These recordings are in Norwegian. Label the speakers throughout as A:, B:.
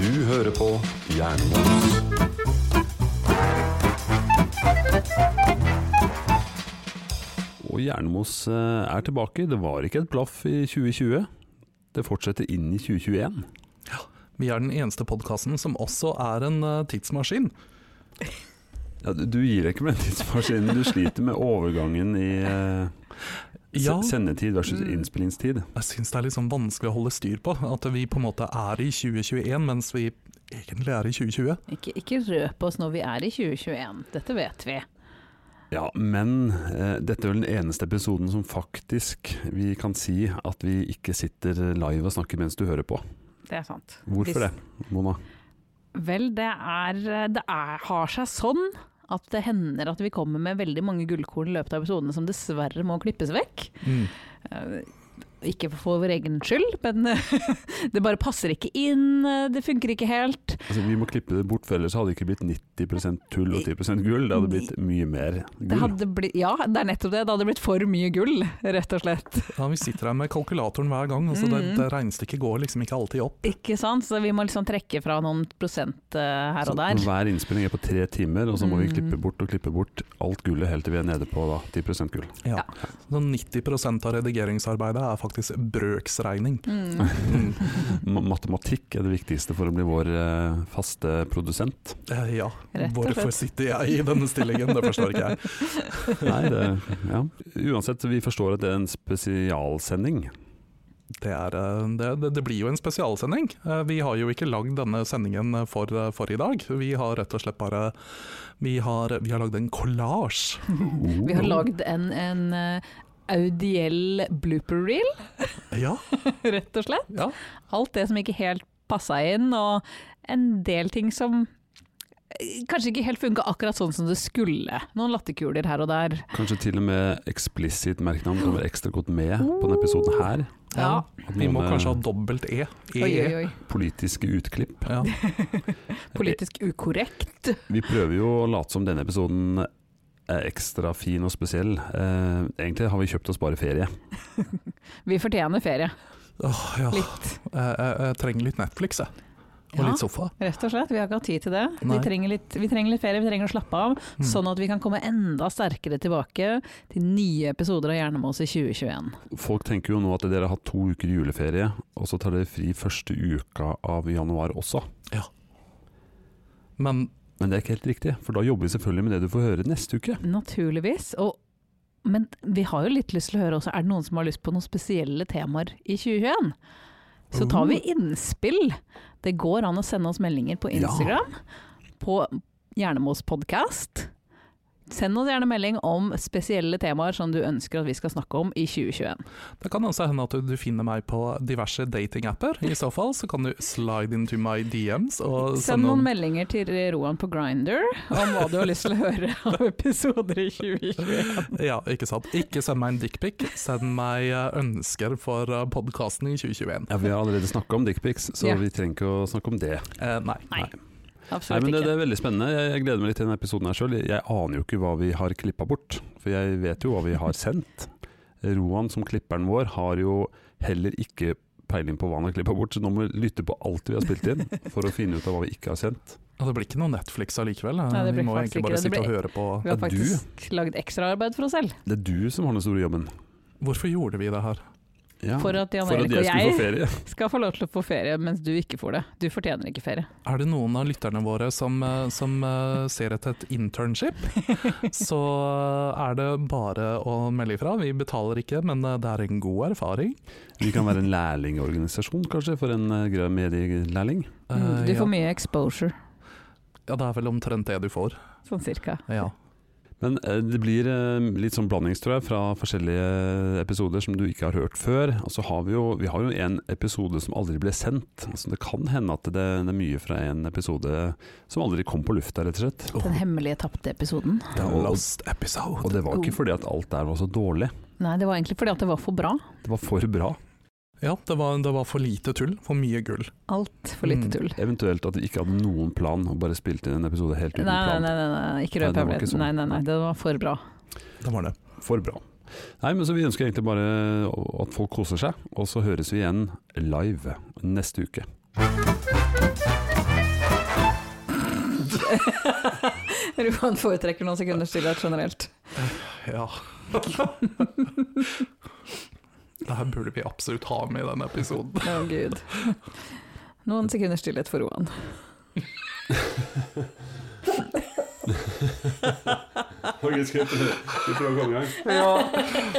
A: Du hører på Jernmos. Og Jernmos eh, er tilbake. Det var ikke et blaff i 2020. Det fortsetter inn i 2021.
B: Vi er den eneste podkasten som også er en eh, tidsmaskin.
A: Ja, du- du gir deg ikke med den tidsmaskinen. Du sliter med overgangen i eh, se-
B: Ja.
A: sendetid versus innspillingstid.
B: Jeg syns det er litt sånn vanskelig å holde styr på. At vi på en måte er i 2021, mens vi egentlig er i 2020.
C: Ikke, ikke røp oss når vi er i 2021, dette vet vi.
A: Ja, men eh, dette er vel den eneste episoden som faktisk vi kan si at vi ikke sitter live og snakker mens du hører på.
C: Det er sant.
A: Hvorfor det, Mona?
C: Vel, det, er, det er, har seg sånn at det hender at vi kommer med veldig mange gullkorn i løpet av episodene som dessverre må klippes vekk. Eh, Ikke for vår egen skyld, men det bare passer ikke inn, eh, det funker ikke helt.
A: Altså, vi må klippe det bort, for ellers hadde det ikke blitt 90 tull og 10 gull. Det hadde blitt mye mer
C: Det
A: gull.
C: hadde blitt, ja, det er nettopp det. Det hadde blitt for mye gull, rett og slett.
B: Ja, vi sitter her med kalkulatoren hver gang, så det,
C: Mm.
B: det regnestykket går liksom ikke alltid opp.
C: Ikke sant? Så vi må liksom trekke fra noen prosent eh, her og der.
A: Så hver innspilling er på tre timer, og så må vi
C: Mm.
A: klippe bort og klippe bort alt gullet helt til vi er nede på da, 10 gull.
B: Ja. Så 90 av redigeringsarbeidet er faktisk brøksregning.
C: Mm.
B: Mm.
A: Ma- Matematikk er det viktigste for å bli vår eh, faste produsent.
B: Eh, Ja,
C: Rett og
B: hvorfor
C: slett.
B: sitter jeg i denne stillingen? Det forstår ikke jeg.
A: Nei, det, ja. Uansett, vi forstår at det er en spesialsending.
B: Det, er, eh, det, det, det blir jo en spesialsending. Eh, Vi har jo ikke lagd denne sendingen for, eh, for i dag. Vi har rett og slett bare Vi har, vi har lagd en kollasj.
C: Vi har lagd en, en eh, audiell blooper reel,
B: Ja,
C: rett og slett.
B: ja.
C: Alt det som ikke helt passa inn, og en del ting som eh, kanskje ikke helt funka akkurat sånn som det skulle. Noen latterkuler her og der.
A: Kanskje til og med eksplisitt merknavn kommer ekstra godt med på denne episoden her.
C: Ja.
A: At
B: Vi må
A: noen, eh,
B: kanskje ha dobbelt E. e.
C: Oi, oi, oi.
A: politiske utklipp.
B: Ja.
C: Politisk ukorrekt.
A: Vi prøver jo å late som denne episoden er ekstra fin og spesiell. Eh, egentlig har vi kjøpt oss bare ferie.
C: Vi fortjener ferie.
B: Åh, ja.
C: Litt,
B: Jeg, jeg, jeg trenger litt Netflix, jeg. Og
C: Ja.
B: litt sofa.
C: rett og slett. Vi har ikke hatt tid til det. Vi
B: Nei.
C: trenger, litt, vi trenger litt ferie, vi trenger å slappe av.
B: Mm.
C: Sånn at vi kan komme enda sterkere tilbake til nye episoder av Hjernemås i 2021.
A: Folk tenker jo nå at dere har hatt to uker juleferie, og så tar dere fri første uka av januar også.
B: Men
A: Men det er ikke helt riktig, for da jobber vi selvfølgelig med det du får høre neste uke.
C: Naturligvis. Og, men vi har jo litt lyst til å høre også, er det noen som har lyst på noen spesielle temaer i 2021? Så tar vi innspill. Det går an å sende oss meldinger på
A: Mm. Ja.
C: Instagram, på Hjernemos podkast. Send oss gjerne melding om spesielle temaer som du ønsker at vi skal snakke om i 2021.
B: det kan også hende at du, du finner meg på diverse datingapper. I så fall så kan du slide into my DMs og
C: Send
B: sende
C: noen
B: noen
C: meldinger til Roan på Grinder om hva du har lyst til å høre av episoder i 2021.
B: Ja, ikke sant. Ikke send meg en dickpic, send meg eh, ønsker for podkasten i 2021.
A: Ja, Vi har allerede snakka om dickpics, så
C: Ja.
A: vi trenger ikke å snakke om det.
B: Eh, nei.
C: Nei,
A: Nei,
C: absolutt
A: men det, det
C: ikke.
A: er veldig spennende. Jeg, jeg gleder meg litt til denne episoden her sjøl. Jeg aner jo ikke hva vi har klippa bort, for jeg vet jo hva vi har sendt. Roan som klipperen vår har jo heller ikke peiling på hva han har klippa bort, så nå må vi lytte på alt vi har spilt inn for å finne ut av hva vi ikke har sendt.
B: Ja, det blir ikke noe Netflix allikevel. eh.
C: Nei, det blir
B: vi må
C: faktisk
B: egentlig
C: ikke
B: bare
C: det. Det
B: sitte og
C: blir-
B: høre på
C: Vi har
A: er du-
C: faktisk lagd ekstraarbeid for oss selv.
A: Det er du som har den store jobben.
B: Hvorfor gjorde vi det her?
A: Ja,
C: For at Jan
A: for
C: Erik
A: at
C: og
A: jeg skulle
C: jeg
A: få ferie.
C: skal få lov til å få ferie, mens du ikke får det. Du fortjener ikke ferie.
B: Er det noen av lytterne våre som, eh, som eh, ser etter et internship, så eh, er det bare å melde ifra. Vi betaler ikke, men eh, det er en god erfaring.
A: Vi kan være en lærlingorganisasjon, kanskje, for en eh, grei medielærling.
B: Eh,
C: Mm, Du
B: ja.
C: får mye exposure,
B: ja, det er vel omtrent det du får.
C: sånn cirka.
B: Ja.
A: Men eh, det blir eh, litt sånn blandings, tror jeg, fra forskjellige episoder som du ikke har hørt før. Og så har vi jo, vi har jo en episode som aldri ble sendt. Så det kan hende at det, det er mye fra en episode som aldri kom på lufta, rett og slett.
C: Den hemmelige tapte episoden.
A: Det er
B: Last Oh, episode.
A: Og det var ikke fordi at alt der var så dårlig.
C: Nei, det var egentlig fordi at det var for bra.
A: Det var for bra.
B: Ja, det var, det var for lite tull, for mye gull.
C: Altfor
B: Mm.
C: lite tull.
A: Eventuelt at vi ikke hadde noen plan og bare spilte inn en episode helt
C: Nei,
A: uten
C: nei, nei,
A: plan.
C: nei, nei,
A: Nei,
C: ikke røp
A: det var ikke
C: hemmeligheten.
A: sånn.
C: Nei, nei, nei, det var for bra.
B: Det var det.
A: For bra. Nei, men så Vi ønsker egentlig bare at folk koser seg, og så høres vi igjen live neste uke.
C: Roan foretrekker noen sekunder stillhet generelt.
B: Ja. Det her burde vi absolutt ha med i denne episoden.
C: Å, gud. Noen sekunder stillhet for Roan.
A: Ok, skal vi prøve, skal vi prøve å komme i gang?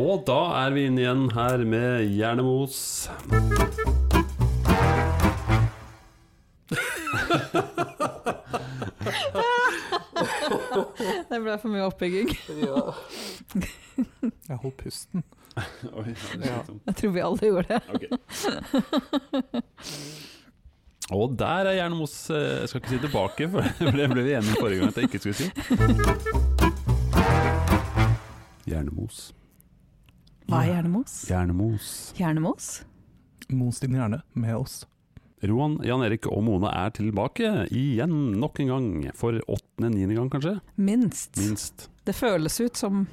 A: Og da er vi inne igjen her med Hjernemos.
C: Det ble for mye oppbygging.
B: Jeg holdt pusten.
A: Oi,
B: Ja.
C: Jeg tror vi alle gjorde det.
A: Ok. Og der er Hjernemos eh, Jeg skal ikke si tilbake, for det ble vi enige om forrige gang at jeg ikke skulle si. Hjernemos.
C: Hva er hjernemos?
A: Hjernemos.
C: Hjernemos?
B: Mos din hjerne med oss.
A: Roan, Jan Erik og Mone er tilbake igjen, nok en gang. For åttende, niende gang kanskje?
C: Minst.
A: Minst.
C: Det føles ut som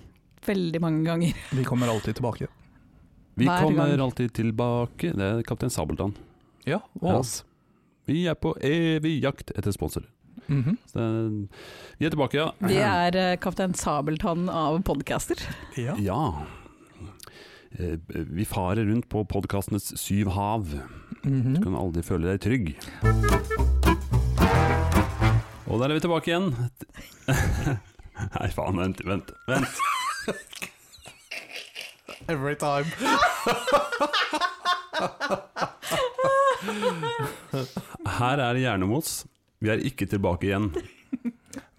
C: veldig mange ganger.
B: Vi kommer alltid tilbake.
A: Vi
C: Hver
A: kommer
C: gang.
A: alltid tilbake. Det er Kaptein Sabeltann.
B: Ja, og
A: Ja.
B: oss.
A: Vi er på evig jakt etter sponsorer.
B: Mhm.
A: Så det- Vi er tilbake, ja.
C: Vi er eh, Kaptein Sabeltann av podcaster.
B: ja.
A: Ja. Eh, Vi farer rundt på podkastenes syv hav. Du
B: Mhm.
A: kan aldri føle deg trygg. Og der er vi tilbake igjen. Nei, faen, vent, vent. vent.
B: Every time.
A: Her er det Hjernemos. Vi er ikke tilbake igjen.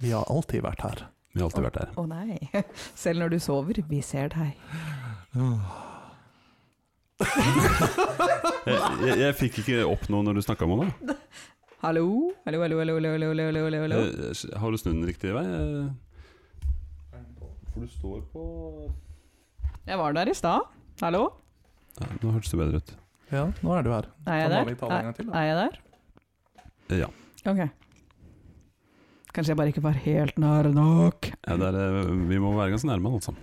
B: Vi har alltid vært her.
A: Vi har alltid vært der.
C: Å nei. Selv når du sover, vi ser deg.
A: Jeg, jeg, jeg fikk ikke opp noe når du snakka om det.
C: Hallo? Hallo, hallo, hallo, hallo, hallo, hallo, hallo, hallo.
B: Eh.
A: Har du snudd den riktige vei? Eh, For du står på
C: Jeg var der i stad. Hallo?
A: ja, Nå hørtes det bedre ut.
B: Ja, nå er du her.
C: Er jeg
B: Da må
C: der?
B: vi ta det en gang
C: Er,
B: til, da.
C: er jeg der?
A: Eh, Ja.
C: Ok. Kanskje jeg bare ikke var helt nær nok.
A: ja det er, eh, vi må være ganske nærme, altså.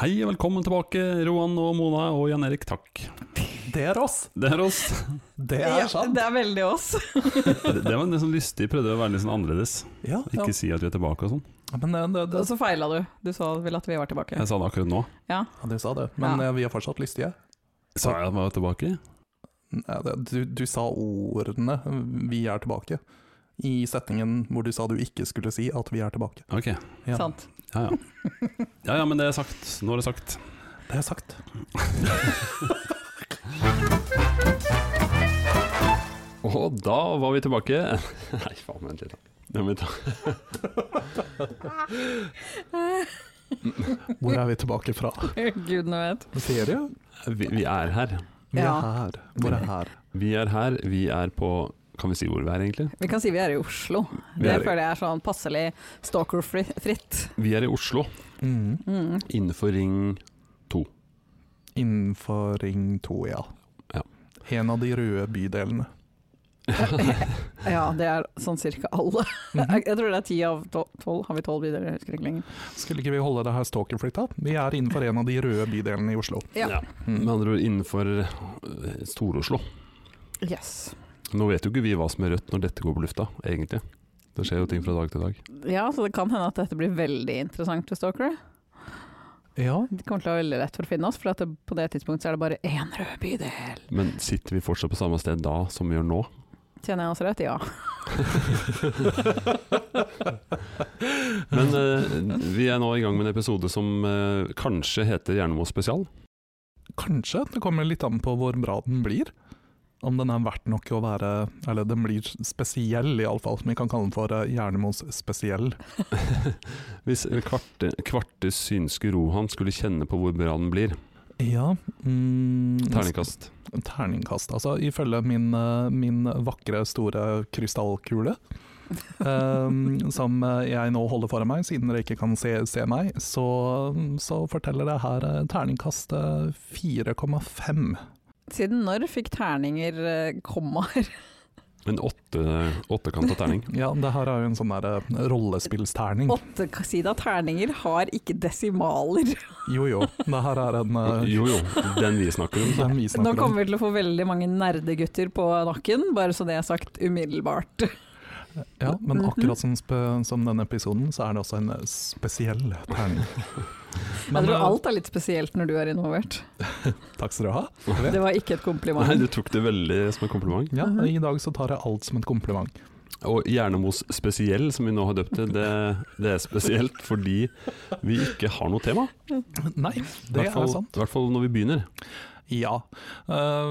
A: Hei og velkommen tilbake, Roan og Mona og Jan Erik. Takk.
B: Det er oss!
A: Det er oss.
B: Det
C: Ja,
B: er sant!
C: det er veldig oss.
A: Det det var litt sånn lystig. Prøvde å være litt sånn annerledes.
B: Ja, ja.
A: Ikke si at vi er tilbake og sånn.
B: Men eh, det,
C: Og
B: det,
C: så feila du. Du sa vel at vi var tilbake.
A: Jeg sa det akkurat nå.
B: ja, du sa det. Men
C: Ja.
B: eh, vi er fortsatt lystige.
A: Sa jeg at vi var tilbake?
B: Nei, det- Du, du sa ordene 'vi er tilbake' i setningen hvor du sa du ikke skulle si at vi er tilbake.
A: Ok.
B: Ja.
C: Sant.
A: Ja ja. Ja ja, men det er sagt. Nå er det sagt.
B: Det er sagt.
A: Og da var vi tilbake. Nei, faen, vent litt. da. Det må vi ta.
B: Hvor er vi tilbake fra?
C: Gud, nå vet.
B: Ferie?
A: Vi, vi er her.
B: Vi
C: Ja.
B: er her. Hvor er her?
A: Vi er her, vi er på Kan vi si hvor vi er, egentlig?
C: Vi kan si vi er i Oslo.
A: Vi
C: Det
A: er-
C: føler jeg er sånn passelig stalker-fritt.
A: Vi er i Oslo,
B: Mhm.
C: Mm.
A: innenfor Ring
B: Innenfor Ring 2, ja.
A: Ja.
B: En av de røde bydelene.
C: Ja, det er sånn cirka alle.
B: Mhm.
C: Jeg, jeg tror det er ti av to- tolv. Har vi tolv biler? Jeg husker ikke lenger.
B: Skulle ikke vi holde det her stalkerfritt, da? Vi er innenfor en av de røde bydelene i Oslo.
C: Ja.
A: Med
B: Mhm.
A: andre ord innenfor eh, Stor-Oslo.
C: Yes.
A: Nå vet jo ikke vi hva som er rødt når dette går på lufta, egentlig. Det skjer jo ting fra dag til dag.
C: Ja, så det kan hende at dette blir veldig interessant for stalkere.
B: Ja,
C: De kommer til å ha veldig lett for å finne oss, for at det, på det tidspunktet så er det bare én rød bydel.
A: Men sitter vi fortsatt på samme sted da som vi gjør nå?
C: Kjenner jeg oss rett? Ja.
A: Men eh, vi er nå i gang med en episode som eh, kanskje heter Hjernemo spesial.
B: Kanskje. Det kommer litt an på hvor bra den blir. Om den er verdt nok å være Eller den blir spesiell, iallfall. Som vi kan kalle den for eh, Hjernemos spesiell.
A: Hvis kvarte, kvarte synske Rohan skulle kjenne på hvor bra den blir.
B: Ja mm,
A: Terningkast.
B: Terningkast. Altså ifølge min, eh, min vakre, store krystallkule, eh, som eh, jeg nå holder foran meg, siden dere ikke kan se, se meg, så, så forteller det her eh, terningkast eh, 4,5.
C: Siden når fikk terninger eh, kommaer?
A: En åtte, åttekanta terning.
B: Ja, det her er jo en sånn der eh, rollespillsterning.
C: Åttesida terninger har ikke desimaler.
B: Jo jo, det her er en eh,
A: Jo jo, den vi snakker om.
B: den vi
C: Nå
B: snakker om.
C: kommer vi til å få veldig mange nerdegutter på nakken, bare så det er sagt umiddelbart.
B: Ja, men
C: Mhm.
B: akkurat som, spe, som denne episoden, så er det også en eh, spesiell terning.
C: jeg tror
B: eh,
C: alt er litt spesielt når du er involvert.
B: Takk skal du ha.
C: Det var ikke et
A: Nei,
C: kompliment.
A: du tok det veldig som en kompliment.
B: Ja,
C: Mhm.
B: I dag så tar jeg alt som et kompliment.
A: Og Hjernemos spesiell, som vi nå har døpt det, det, det er spesielt fordi vi ikke har noe tema.
B: Nei,
A: I
B: det
A: hvert fall-
B: er sant.
A: I hvert fall når vi begynner.
B: Ja.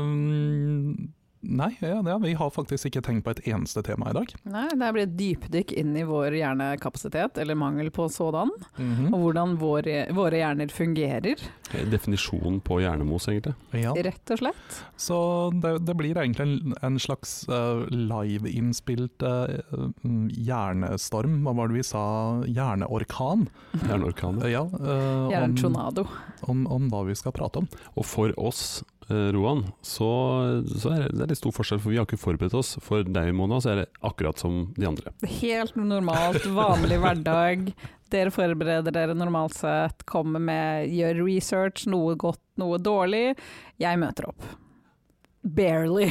B: Ehm, nei, ja, ja, vi har faktisk ikke tenkt på et eneste tema i dag.
C: Nei, det her blir et dypdykk inn i vår hjernekapasitet, eller mangel på sådan,
A: Mm.
B: Mhm.
C: og hvordan våre, våre hjerner fungerer,
A: Eh, Definisjonen på hjernemos, egentlig.
B: ja.
C: rett og slett.
B: Så det, det blir egentlig en, en slags eh, liveinnspilt eh, mm, hjernestorm, hva var det vi sa, hjerneorkan?
A: Hjerneorkaner.
B: Eh, ja, eh, om,
C: Hjernetornado.
B: om, om hva vi skal prate om.
A: Og for oss, eh, Roan, så, så er det- det er litt stor forskjell, for vi har ikke forberedt oss. For deg, Mona, så er det akkurat som de andre.
C: Helt normalt, vanlig hverdag. Dere forbereder dere normalt sett, kommer med, gjør research, noe godt, noe dårlig. Jeg møter opp. Barely.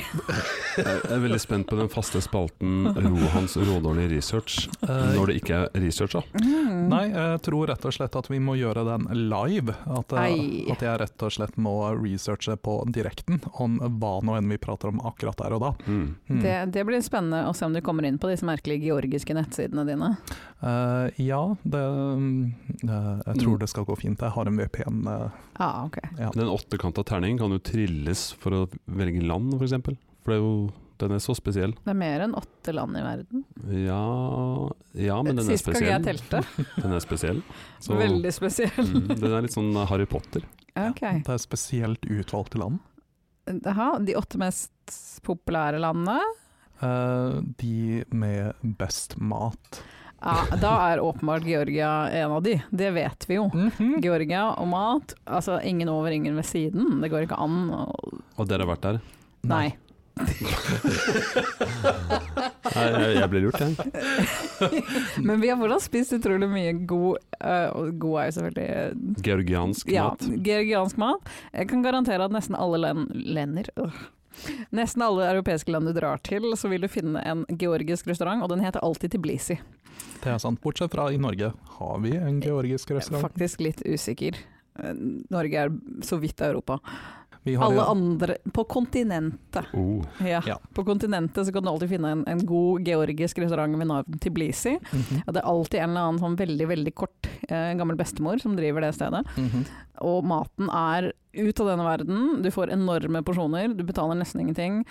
A: Jeg er veldig spent på den faste spalten Rohans rådårlig research,
B: Eh,
A: når det ikke er research, da.
C: Mm.
B: Nei, jeg tror rett og slett at vi må gjøre den live. At,
C: Ei.
B: eh, at jeg rett og slett må researche på direkten om hva nå enn vi prater om akkurat der og da.
A: Mm.
B: Hmm.
C: Det, det blir spennende å se om du kommer inn på disse merkelige georgiske nettsidene dine.
B: Eh, ja, det mm, eh, Jeg tror det skal gå fint. Jeg har en VPN. eh,
C: Ah, ok.
A: Den åttekanta terningen kan jo trilles for å velge land, f.eks. eksempel for det er jo, den er så spesiell.
C: Det er mer enn åtte land i verden.
A: Ja, ja men den er
C: Sist gang jeg
A: spesiell.
C: telte.
A: Den er spesiell. Så-
C: Veldig spesiell.
A: Mm, den er litt sånn Harry Potter.
C: Ok.
B: Det er spesielt utvalgte land.
C: Jaha, de åtte mest populære landene.
B: Eh, de med best mat.
C: Ja, da er åpenbart Georgia en av de. Det vet vi jo. Georgia og mat, altså ingen over, ingen ved siden. Det går ikke an å
A: Og dere har vært der?
C: Nei.
A: Nei, jeg, jeg ble lurt, jeg.
C: Men vi har fortsatt spist utrolig mye god øh, og God er jo selvfølgelig
A: Georgiansk
C: ja,
A: mat.
C: georgiansk mat. Jeg kan garantere at nesten alle len, lender øh. Nesten alle europeiske land du drar til, så vil du finne en georgisk restaurant, og den heter alltid Tiblisi.
B: Det er sant. Bortsett fra i Norge har vi en
C: Eh,
B: georgisk
C: Jeg er
B: restaurant.
C: faktisk litt usikker. Eh, Norge er så vidt Europa.
B: Vi har
C: Alle
B: en-
C: andre På kontinentet.
A: Oh.
C: Ja.
B: Ja.
C: På kontinentet så kan du alltid finne en, en god georgisk restaurant ved navn Tiblisi.
B: Mhm,
C: Og det er alltid en eller annen sånn veldig, veldig kort eh, gammel bestemor som driver det stedet.
B: mhm.
C: Og maten er ut av denne verden. Du får enorme porsjoner, du betaler nesten ingenting.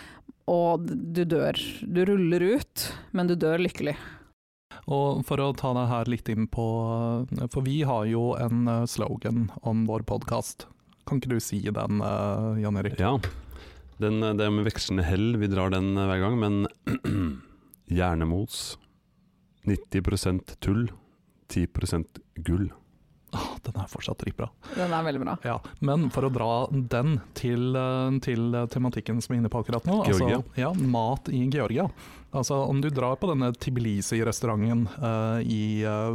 C: Og du dør. Du ruller ut, men du dør lykkelig.
B: Og for å ta det her litt inn på eh, For vi har jo en eh, slogan om vår podkast. Kan ikke du si den, eh, Jan Erik?
A: Ja. Den, eh, det er med vekslende hell vi drar den eh, hver gang, men hjernemos. 90 tull, 10 gull.
B: Ah, den er fortsatt dritbra.
C: Den er veldig bra.
B: Ja, men for å dra den til, eh, til tematikken som vi er inne på akkurat nå,
A: Georgia.
B: Altså, ja, mat i Georgia. Altså, om du drar på denne Tibilisi-restauranten eh, i eh,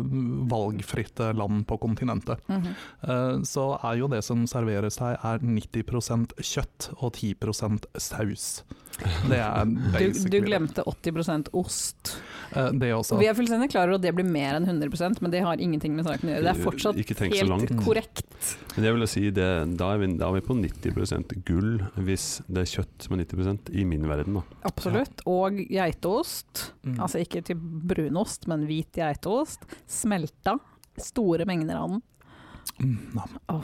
B: valgfritt eh, land på kontinentet,
C: Mhm.
B: eh, så er jo det som serveres her er 90 kjøtt og 10 saus. Det er
C: du, du
B: basically
C: glemte 80 ost.
B: Eh, det også.
C: Vi er fullstendig klar over at det blir mer enn 100 men det har ingenting med saken å gjøre. Det er fortsatt
A: Ikke tenk så langt.
C: helt korrekt.
A: Men jeg vil si det, da, er vi, da er vi på 90 gull, hvis det er kjøtt som er 90 i min verden. Da.
C: Absolutt. Og geitost.
B: Mm.
C: Altså ikke til brunost, men hvit geitost. Smelta. Store mengder av den.
B: Mm, ja.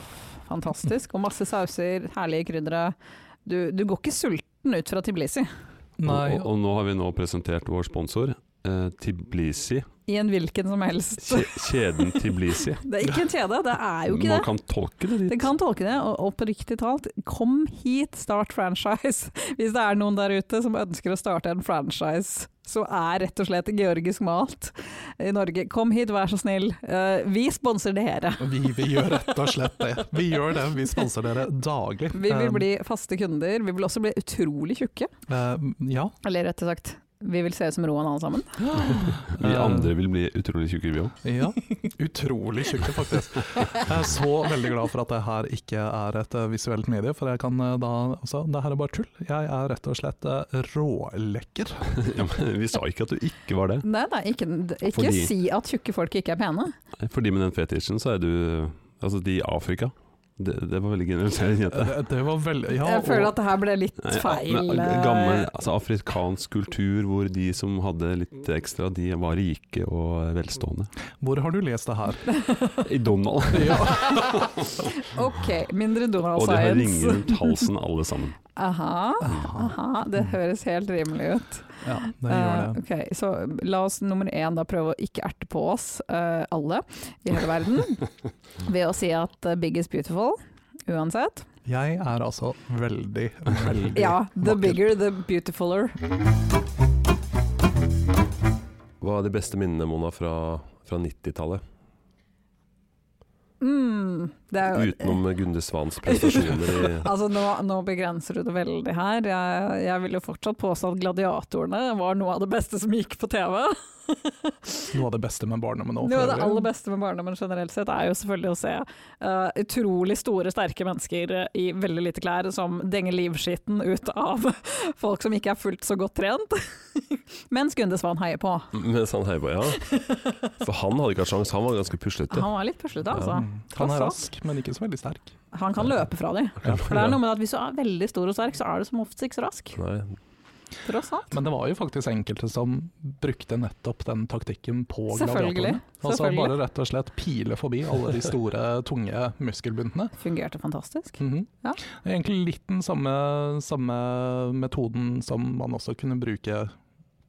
C: Fantastisk. Og masse sauser, herlige kryddere. Du, du går ikke sulten ut fra Tiblisi.
A: Og,
B: Nei,
A: og, og nå har vi nå presentert vår sponsor, eh, Tiblisi.
C: I en hvilken som helst.
A: Kje, kjeden Tiblisi.
C: Det er ikke en kjede, det er jo ikke
A: Man
C: det.
A: kan tolke det
C: Det
A: dit.
C: kan tolke det, og oppriktig talt, kom hit, start franchise. Hvis det er noen der ute som ønsker å starte en franchise, så er rett og slett georgisk mat i Norge. Kom hit, vær så snill. Eh, Vi sponser dere.
B: vi, vi gjør rett og slett det. Vi gjør det, vi sponser dere daglig.
C: Vi
B: Eh,
A: Um.
C: vil bli faste kunder. Vi vil også bli utrolig tjukke.
B: eh, ja,
C: Eller rettere sagt, Vi vil se ut som Roan alle sammen.
A: Vi andre vil bli utrolig tjukke, vi òg.
B: Eh, Ja, utrolig tjukke faktisk. Jeg er så veldig glad for at det her ikke er et eh, visuelt medie, for jeg kan eh, da altså, Det her er bare tull. Jeg er rett og slett eh, rålekker.
A: Ja, men vi sa ikke at du ikke var det.
C: Nei, nei, ikke, ikke
A: Fordi-
C: si at tjukke folk ikke er pene.
A: Nei, Fordi med den fetisjen så er du Altså, de i Afrika. Det, det var veldig generaliserende. Jette.
B: Eh, Det var veldig Ja,
C: Jeg føler
B: og-
C: at det her ble litt
A: Nei,
C: feil.
A: men
C: eh,
A: Gammel altså afrikansk kultur hvor de som hadde litt ekstra, de var rike og velstående.
B: Hvor har du lest det her?
A: I Donald.
C: Ok, mindre Donald
A: Og de har
C: Science.
A: ringer rundt halsen alle sammen.
C: Aha, aha, det høres helt rimelig ut.
B: Ja, det Mm. gjør
C: Eh,
B: det.
C: ok, så la oss nummer én da prøve å ikke erte på oss eh, alle i hele verden ved å si at eh, big is beautiful. Uansett.
B: Jeg er altså veldig, veldig
C: Ja, the
B: vakker.
C: bigger, the beautifuler.
D: Hva er de beste minnene, Mona, fra, fra 90-tallet?
C: Mm, det er jo
D: Utenom Gunde Svans prestasjoner i
C: Altså nå, nå begrenser du det veldig her. Jeg, jeg vil jo fortsatt påstå at Gladiatorene var noe av det beste som gikk på TV.
B: Noe av det beste med barndommen nå.
C: Noe av det aller beste med barndommen generelt sett er jo selvfølgelig å se eh, utrolig store, sterke mennesker eh, i veldig lite klær som denger livskitten ut av folk som ikke er fullt så godt trent. Mens Gunde Svan heier på.
D: Mens han heier på, ja. For han hadde ikke hatt sjans, han var ganske puslete.
C: Han var litt puslete, altså.
B: Mm. Han er rask, men ikke så veldig sterk.
C: Han kan løpe fra dem. For det er noe med at hvis du er veldig stor og sterk, så er du som oftest ikke så rask.
D: Nei,
C: Tross alt.
B: Men det var jo faktisk enkelte som brukte nettopp den taktikken på
C: Selvfølgelig.
B: gladiatorene. Altså
C: Selvfølgelig.
B: bare rett og slett pile forbi alle de store, tunge muskelbuntene.
C: Fungerte fantastisk.
B: Mhm.
C: Ja.
B: Det er Egentlig litt den samme, samme metoden som man også kunne bruke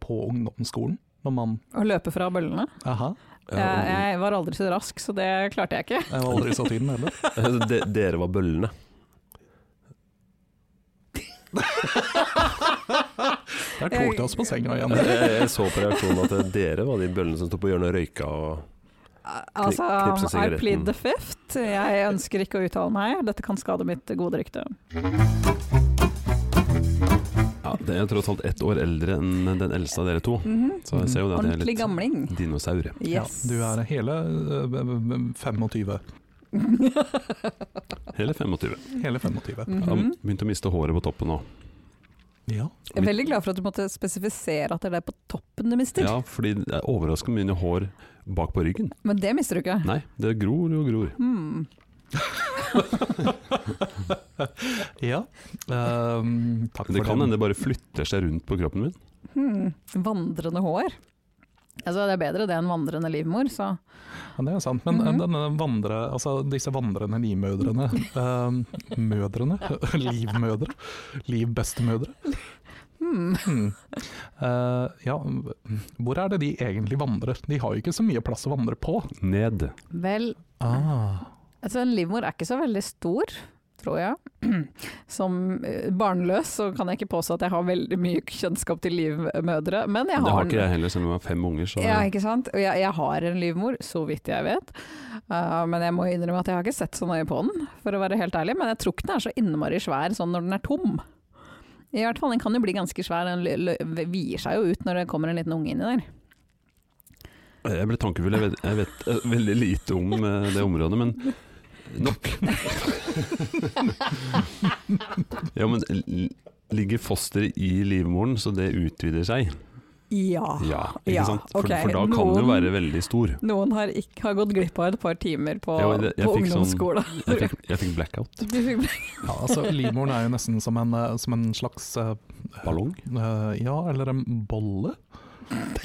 B: på ungdomsskolen. Når man
C: Å løpe fra bøllene.
B: Aha,
C: Jeg,
D: ja,
C: jeg var aldri så rask, så det klarte jeg ikke.
B: jeg var aldri så tynn heller.
D: og- de, dere var bøllene.
B: Der tok du oss på senga igjen.
D: Jeg, jeg, jeg så på reaksjonen at eh, dere var de bøllene som sto på hjørnet og røyka. Og
C: Altså,
D: knipse
C: I plead
D: sigaretten.
C: the fifth. Jeg ønsker ikke å uttale meg. Dette kan skade mitt gode rykte.
A: Ja, det er tross alt ett år eldre enn den eldste av dere to. Så jeg ser jo det at det er
C: Mhm. Ordentlig
A: litt
C: gamling.
A: dinosaur. ja.
C: Yes.
B: Ja, du er hele øh, 25.
A: Hele 25.
B: Hele 25.
A: Jeg
C: Mhm.
A: har begynt å miste håret på toppen nå.
B: Ja.
C: Jeg er veldig glad for at du måtte spesifisere at det er det på toppen du mister,
A: Ja, fordi det er overraskende mye hår bak på ryggen.
C: men det mister du ikke.
A: Nei, det gror og gror.
C: Hmm.
B: ja. Ehm, takk
A: Det
B: for
A: kan hende
B: den.
A: det bare flytter seg rundt på kroppen min.
C: Hmm. Vandrende hår. Altså, det er bedre det enn vandrende livmor, så
B: Ja, det er sant. Men eh,
C: Mhm.
B: denne vandre, altså, disse vandrende livmødrene eh, Mødrene? Livmødre? Livbestemødre?
C: hmm.
B: Hmm. Eh, ja, hvor er det de egentlig vandrer? De har jo ikke så mye plass å vandre på.
A: Ned.
C: Vel,
B: Ah.
C: altså en livmor er ikke så veldig stor, tror jeg. Som eh, barnløs så kan jeg ikke påstå at jeg har veldig mye kjennskap til livmødre, men jeg
A: Det
C: har
A: har ikke jeg heller, selv om jeg har fem unger. Så
C: Ja, ikke sant? Og jeg, jeg har en livmor, så vidt jeg vet. Uh, men jeg må innrømme at jeg har ikke sett så nøye på den, for å være helt ærlig. Men jeg tror ikke den er så innmari svær sånn når den er tom. I hvert fall, Den kan jo bli ganske svær, den lø- lø- vier seg jo ut når det kommer en liten unge inni der.
A: jeg ble tankefull. Jeg vet, jeg vet eh, veldig lite om eh, det området, men nok. ja, men l- ligger fosteret i livmoren, så det utvider seg?
C: Ja.
A: Ja, ikke
C: Ah, Ja,
A: sant? For, for
C: ok.
A: da kan det jo
C: Noen-
A: være veldig stor.
C: Noen har, ikk- har gått glipp av et par timer på,
A: Ja, det- jeg
C: på
A: fikk sånn-
C: ungdomsskolen.
A: Jeg fikk, jeg fikk blackout.
C: Du fikk-
B: Ja, altså, livmoren er jo nesten som en, eh, som en slags eh,
A: Ballong?
B: eh, Ja, eller en bolle.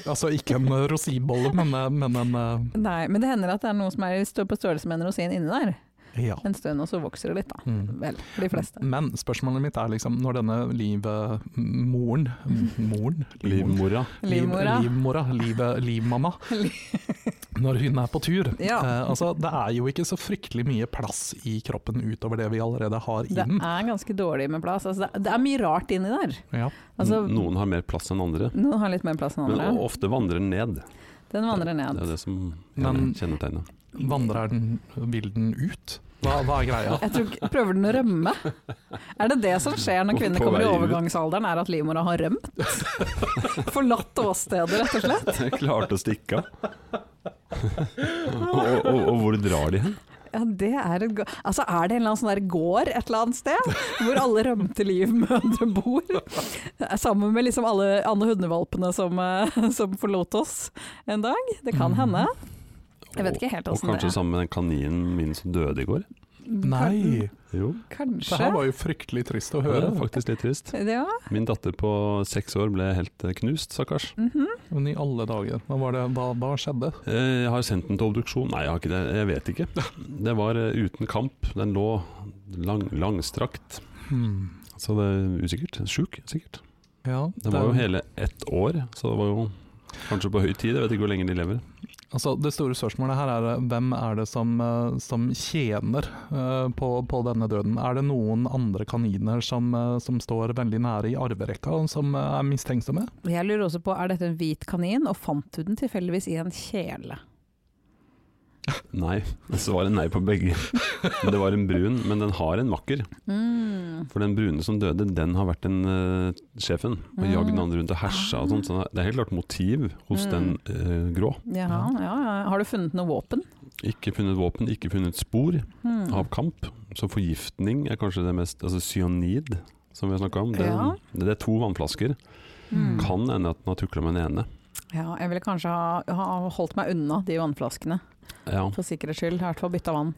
B: Altså ikke en eh, rosinbolle, men, eh, men en
C: Nei, men det hender at det er noe som er i stå- på størrelse med en rosin inni der
B: eh, Ja.
C: en stund, og så vokser det litt, da.
B: Mm.
C: Vel, de fleste.
B: Men spørsmålet mitt er liksom, når denne livmoren Moren?
A: Livmora.
C: Livmora.
B: Liv, livmora livet- livmamma.
C: Li-
B: Når hun er på tur.
C: Ja.
B: Eh, altså, det er jo ikke så fryktelig mye plass i kroppen utover det vi allerede har i
C: Det
B: den.
C: er ganske dårlig med plass. Altså, det, er- det er mye rart inni der.
B: Ja.
C: Altså,
A: N- Noen har mer plass enn andre,
C: Noen har litt mer plass enn
A: men
C: andre.
A: o- ofte vandrer ned.
C: Den vandrer
A: Det
C: ned.
A: er det som
B: Men-
A: kjennetegner.
B: Vandrer den, vil den ut? Hva, hva er greia?
C: Jeg tror, ikke- prøver den å rømme? Er det det som skjer når kvinner
A: På
C: kommer i
A: vei ut.
C: overgangsalderen, er at livmora har rømt? Forlatt åstedet, rett og slett?
A: Jeg klarte å stikke av. og, og, og hvor drar de hen?
C: Ja, det er et go- Altså, er det en eller annen sånn der gård et eller annet sted, hvor alle rømte livmødre bor? Det er Sammen med liksom alle andre hundevalpene som, eh, som forlot oss en dag. Det
B: Mm.
C: kan hende. Jeg vet ikke helt
A: Og
C: åssen det
A: kanskje
C: er.
A: sammen med den kaninen min som døde i går.
B: Nei,
A: Jo,
B: det her
C: Kanskje.
B: var jo fryktelig trist å
A: det
B: høre.
A: er faktisk litt trist.
C: Ja.
A: Min datter på seks år ble helt eh, knust, stakkars.
C: mhm.
B: Men i alle dager, hva, var det, hva, hva skjedde?
A: Eh, Jeg har sendt den til obduksjon. Nei, jeg har ikke det. Jeg vet ikke. Det var eh, uten kamp. Den lå lang, langstrakt.
B: Hmm.
A: Så det er usikkert. Sjuk, sikkert.
B: Ja,
A: Det var jo hele ett år, så det var jo kanskje på høy tid. Jeg vet ikke hvor lenge de lever.
B: Altså, det store spørsmålet her er eh, hvem er det som, eh, som tjener eh, på, på denne døden? Er det noen andre kaniner som, eh, som står veldig nære i arverekka, som eh, er mistenksomme?
C: Jeg lurer også på, er dette en hvit kanin, og fant du den tilfeldigvis i en kjele?
A: Nei, svaret er nei på begge. Det var en brun, men den har en makker.
C: Mm.
A: For den brune som døde, den har vært den eh, sjefen. Og
C: Mm.
A: jagd den andre rundt og hersa og sånt. Så det er helt klart motiv hos
C: Mm.
A: den eh, grå.
C: Jaha, ja, ja. Har du funnet noe våpen?
A: Ikke funnet våpen, ikke funnet spor
C: Hmm.
A: av kamp. Så forgiftning er kanskje det mest Altså cyanid, som vi har snakka om. Det,
C: Ja.
A: det er to vannflasker.
C: Mm.
A: Kan hende at den har tukla med den ene.
C: Ja, jeg ville kanskje ha, ha holdt meg unna de vannflaskene,
A: Ja.
C: for sikkerhets skyld. Jeg har I hvert fall bytta vann.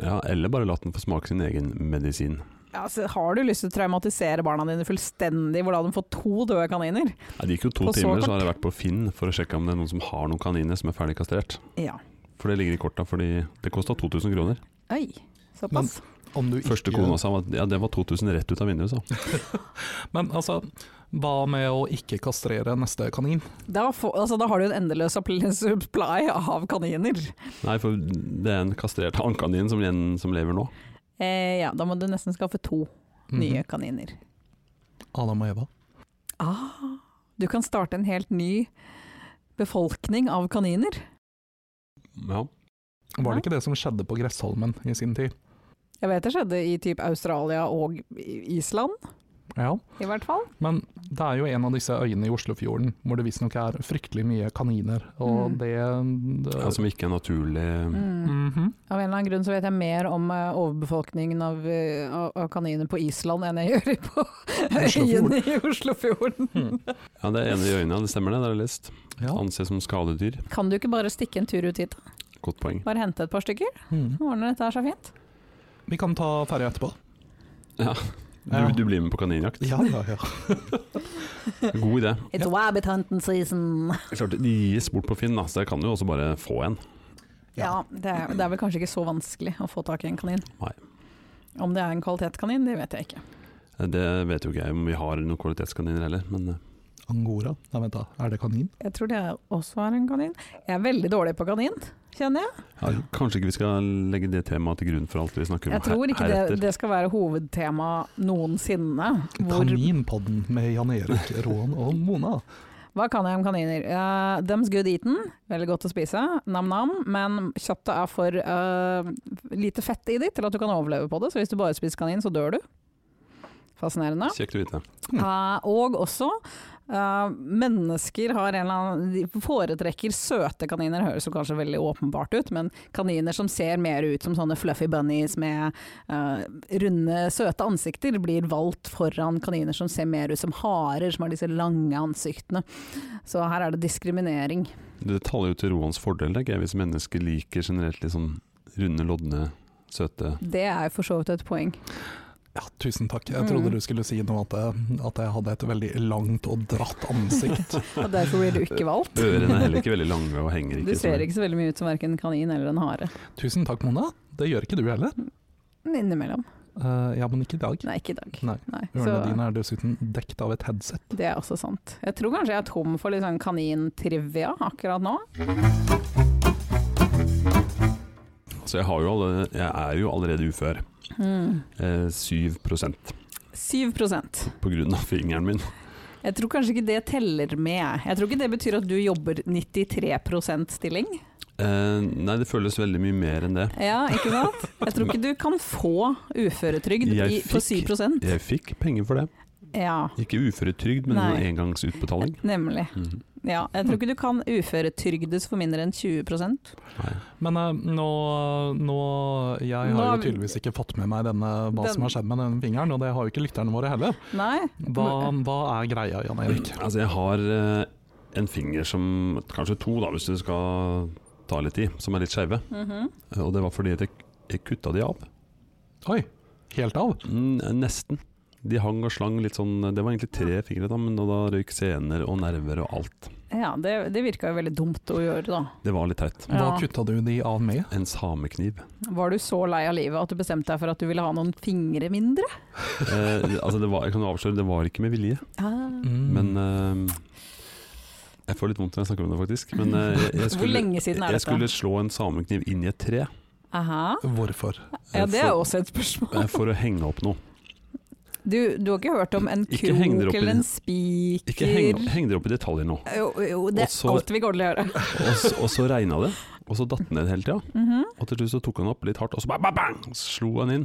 A: ja, eller bare latt den få smake sin egen medisin.
C: Ja, altså, har du lyst til å traumatisere barna dine fullstendig, hvor da de får to døde kaniner?
A: Nei, det gikk jo to
C: På så
A: timer,
C: kort.
A: så har jeg vært på Finn for å sjekke om det er noen som har noen kaniner som er ferdig kastrert.
C: Ja.
A: For det ligger i korta, fordi det kosta 2000 kroner.
C: Oi, såpass.
B: Om du
A: Første
B: ikke-
A: kona sa at ja, det var 2000 rett ut av vinduet, sa
B: Men altså, hva med å ikke kastrere neste kanin?
C: Da, får- altså, da har du en endeløs appl- supply av kaniner.
A: Nei, for det er en kastrert hannkanin som, igjen- som lever nå.
C: Eh, ja, da må du nesten skaffe to
B: Mhm.
C: nye kaniner.
B: Adam og Eva.
C: Ah, du kan starte en helt ny befolkning av kaniner.
A: Ja.
B: Var det ikke det som skjedde på Gressholmen i sin tid?
C: Jeg vet det skjedde i typ Australia og i- Island,
B: Ja.
C: i hvert fall.
B: Men det er jo en av disse øyene i Oslofjorden hvor det visstnok er fryktelig mye kaniner, og
C: Mm.
B: det, det
A: ja, altså, som ikke er naturlig
B: Mhm.
C: Av en eller annen grunn så vet jeg mer om eh, overbefolkningen av, eh, av, av kaniner på Island enn jeg gjør i- på øyene i Oslofjorden.
A: Ja, det ene i øynene, det stemmer det, det har jeg lest.
B: Ja.
A: Anses som skadedyr.
C: Kan du ikke bare stikke en tur ut hit? da?
A: Godt poeng.
C: Bare hente et par stykker?
B: Mm.
C: Ordner dette her seg fint?
B: Vi kan ta ferja etterpå.
A: Du,
B: Ja.
A: du blir med på kaninjakt.
B: Ja, ja, ja.
A: God idé.
C: It's rabbit hunting season!
A: Klart, de gis bort på Finn, da, så jeg kan jo også bare få en.
C: Ja, det er, det er vel kanskje ikke så vanskelig å få tak i en kanin.
A: Nei.
C: Om det er en kvalitetskanin, det vet jeg ikke.
A: Det vet jo ikke jeg om vi har noen kvalitetskaniner heller, men eh,
B: Angora? Nei, vent da, er det kanin?
C: Jeg tror det også er en kanin. Jeg er veldig dårlig på kanin, kjenner jeg.
A: ja, kanskje ikke vi skal legge det temaet til grunn for alt vi snakker om
C: Jeg tror ikke det,
A: heretter.
C: det skal være hovedtema noensinne. Hvor
B: Kaninpodden med Jan Erik, Roan og Mona.
C: Hva kan jeg om kaniner? Uh, Dems good eaten, veldig godt å spise, nam-nam, men kjøttet er for eh, lite fett i det til at du kan overleve på det, så hvis du bare spiser kanin, så dør du. Fascinerende.
A: Kjekt å vite.
C: Eh, og også eh, mennesker har en eller annen De foretrekker søte kaniner, høres jo kanskje veldig åpenbart ut, men kaniner som ser mer ut som sånne fluffy bunnies med eh, runde, søte ansikter, blir valgt foran kaniner som ser mer ut som harer, som har disse lange ansiktene. Så her er det diskriminering.
A: Det taler jo til Roans fordel, tenker jeg, hvis mennesker liker generelt litt sånn runde, lodne, søte
C: Det er for så vidt et poeng.
B: Ja, tusen takk. Jeg
C: Mm.
B: trodde du skulle si noe at jeg, at jeg hadde et veldig langt og dratt ansikt.
C: Og derfor blir du ikke valgt.
A: Ørene er heller ikke veldig lange og henger ikke.
C: Du ser
A: sånn.
C: ikke så veldig mye ut som verken en kanin eller en hare.
B: tusen takk, Mona. Det gjør ikke du heller.
C: Innimellom.
B: Eh, ja, men ikke i dag.
C: Nei, ikke i dag.
B: Nei.
C: Nei.
B: Ørene
C: så-
B: dine er dessuten dekt av et headset.
C: Det er også sant. Jeg tror kanskje jeg er tom for litt sånn kanintrivia akkurat nå.
A: Så jeg, har jo alle, jeg er jo allerede ufør. Eh, 7
C: Mm. Syv prosent.
A: på grunn av fingeren min.
C: Jeg tror kanskje ikke det teller med. jeg. Jeg tror ikke det betyr at du jobber 93 stilling.
A: Eh, nei, det føles veldig mye mer enn det.
C: Ja, ikke sant? Jeg tror ikke du kan få uføretrygd
A: Jeg
C: i, på
A: fikk-
C: 7
A: Jeg fikk penger for det.
C: Ja,
A: Ikke uføretrygd, men
C: Nei.
A: en engangsutbetaling.
C: nemlig.
A: Mhm.
C: Ja, jeg tror ikke du kan uføretrygdes for mindre enn 20
A: Nei.
B: Men eh, nå, nå Jeg har
C: Nå-
B: jo tydeligvis ikke fått med meg denne, hva
C: Den-
B: som har skjedd med den fingeren, og det har jo ikke lytterne våre heller.
C: Nei?
B: Hva, hva er greia, Jan Erik?
A: Altså, jeg har eh, en finger som Kanskje to, da, hvis du skal ta litt i, som er litt skeive.
C: Mhm.
A: Eh, Og det var fordi at jeg, jeg kutta de av.
C: Mm.
B: Oi, helt av?
A: Mm, nesten. De hang og slang litt sånn Det var egentlig tre fingre, da, men da røyk sener og nerver og alt.
C: Ja, det, det virka jo veldig dumt å gjøre, da.
A: Det var litt teit.
B: Hva
C: Ja.
B: kutta du de av med?
A: En samekniv.
C: Var du så lei av livet at du bestemte deg for at du ville ha noen fingre mindre?
A: Eh, altså, det var, jeg kan jo avsløre, det var ikke med vilje.
C: Ah.
B: Mm.
A: Men eh, Jeg får litt vondt når jeg snakker om det, faktisk. Men eh, jeg, jeg
C: Hvor
A: skulle,
C: lenge siden er
A: jeg
C: dette?
A: skulle slå en samekniv inn i et tre eh,
C: Aha.
B: Hvorfor?
C: Ja, det er
A: for-
C: også et spørsmål.
A: eh, for å henge opp noe.
C: Du, du har ikke hørt om en
A: Ikke heng dere
C: krok
A: opp i
C: eller
A: det.
C: en spiker?
A: Ikke heng, heng dere opp i detaljer nå.
C: Jo, jo, det
A: Og så-
C: er alt vi går til å gjøre.
A: Og, s- og så regna det, og så datt den ned hele tida.
C: Mhm.
A: Og til slutt så tok han opp litt hardt, og så bare ba- bang, slo han inn.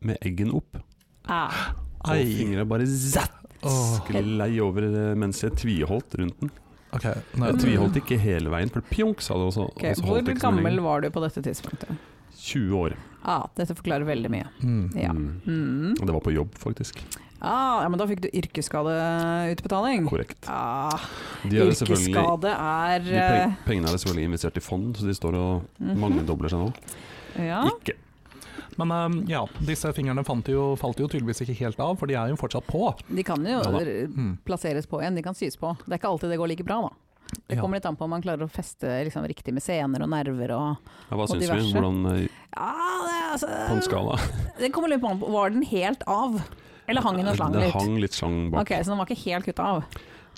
A: Med eggen opp,
C: ah,
A: og
B: Ei.
A: fingra bare zatt,
B: Åh,
A: sklei over eh, mens jeg tviholdt rundt den.
B: ok,
A: Jeg
B: nå-
A: tviholdt ikke hele veien, for pjonk, sa det også.
C: ok.
A: og så
C: Hvor
A: holdt det ikke så mye
C: gammel
A: lenger.
C: var du på dette tidspunktet?
A: 20 år.
C: Ah, dette forklarer veldig mye.
B: Mm.
C: Ja.
A: Mm.
C: Mm.
A: Og det var på jobb, faktisk.
C: Ah, ja, men da fikk du yrkesskadeutbetaling.
A: Korrekt.
C: Ah,
A: De er jo selvfølgelig
C: yrkesskade er
A: de peng- Pengene er selvfølgelig investert i fond, så de står og
C: eh, mhm. Ah.
A: mangedobler seg nå.
C: eh, Ja.
A: Ikke.
B: Men eh, ja, disse fingrene fant jo, falt jo tydeligvis ikke helt av, for de er jo fortsatt på.
C: De kan jo
A: Ja da.
C: r-
B: Mm.
C: plasseres på igjen, de kan sys på. Det er ikke alltid det går like bra, da. Det
B: Ja.
C: kommer litt an på om man klarer å feste liksom, riktig med sener og nerver og
A: Ja, hva
C: Og
A: syns vi?
C: diverse.
A: Hvordan eh,
C: Ja, det, er altså,
A: på en skala?
C: Det kommer litt på an på. Var den helt av? Eller hang den og slang
A: Det
C: litt?
A: hang litt slang bak.
C: Ok, Så den var ikke helt kutta av?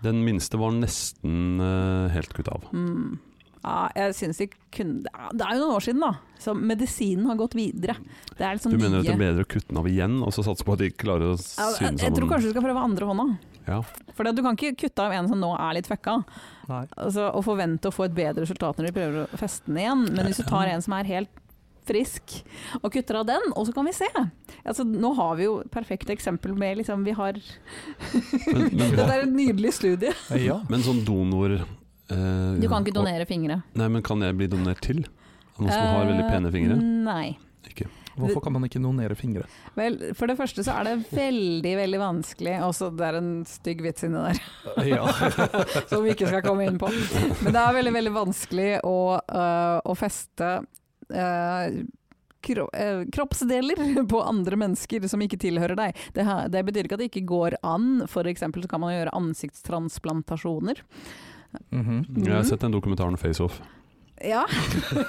A: Den minste var nesten eh, helt kutta av.
C: Mm. Ja, jeg synes de kunne ja, Det er jo noen år siden, da. Så medisinen har gått videre. Det er liksom
A: Du mener at det
C: nye
A: er bedre å kutte den av igjen, og så satse på at de klarer å
C: Ja,
A: sy den
C: jeg, jeg tror
A: sammen?
C: kanskje du skal prøve andre hånda.
A: Ja.
C: For det- du kan ikke kutte av en som nå er litt fucka,
B: Nei.
C: altså, og forvente å få et bedre resultat når de prøver å feste den igjen. Men hvis du tar en som er helt frisk, og kutter av den, og så kan vi se. Altså, nå har vi jo et perfekt eksempel med liksom, Vi har
A: Men, men,
C: Dette
A: hva,
C: er en nydelig studie.
B: Eh, Ja.
A: men sånn donor eh,
C: Du kan ikke
A: og-
C: donere fingre.
A: Nei, men kan jeg bli donert til? Av Noen som har veldig pene fingre?
C: Eh, Nei.
A: Ikke.
B: Hvorfor kan man ikke donere fingre?
C: Vel, for det første så er det veldig, veldig vanskelig Også det er en stygg vits inni der
B: Eh, Ja.
C: som vi ikke skal komme inn på. Men det er veldig, veldig vanskelig å, øh, å feste øh, kro øh, kroppsdeler på andre mennesker som ikke tilhører deg. Det, her, det betyr ikke at det ikke går an. For eksempel så kan man gjøre ansiktstransplantasjoner.
B: Mhm.
A: Jeg har sett den dokumentaren Face Off.
C: Ja.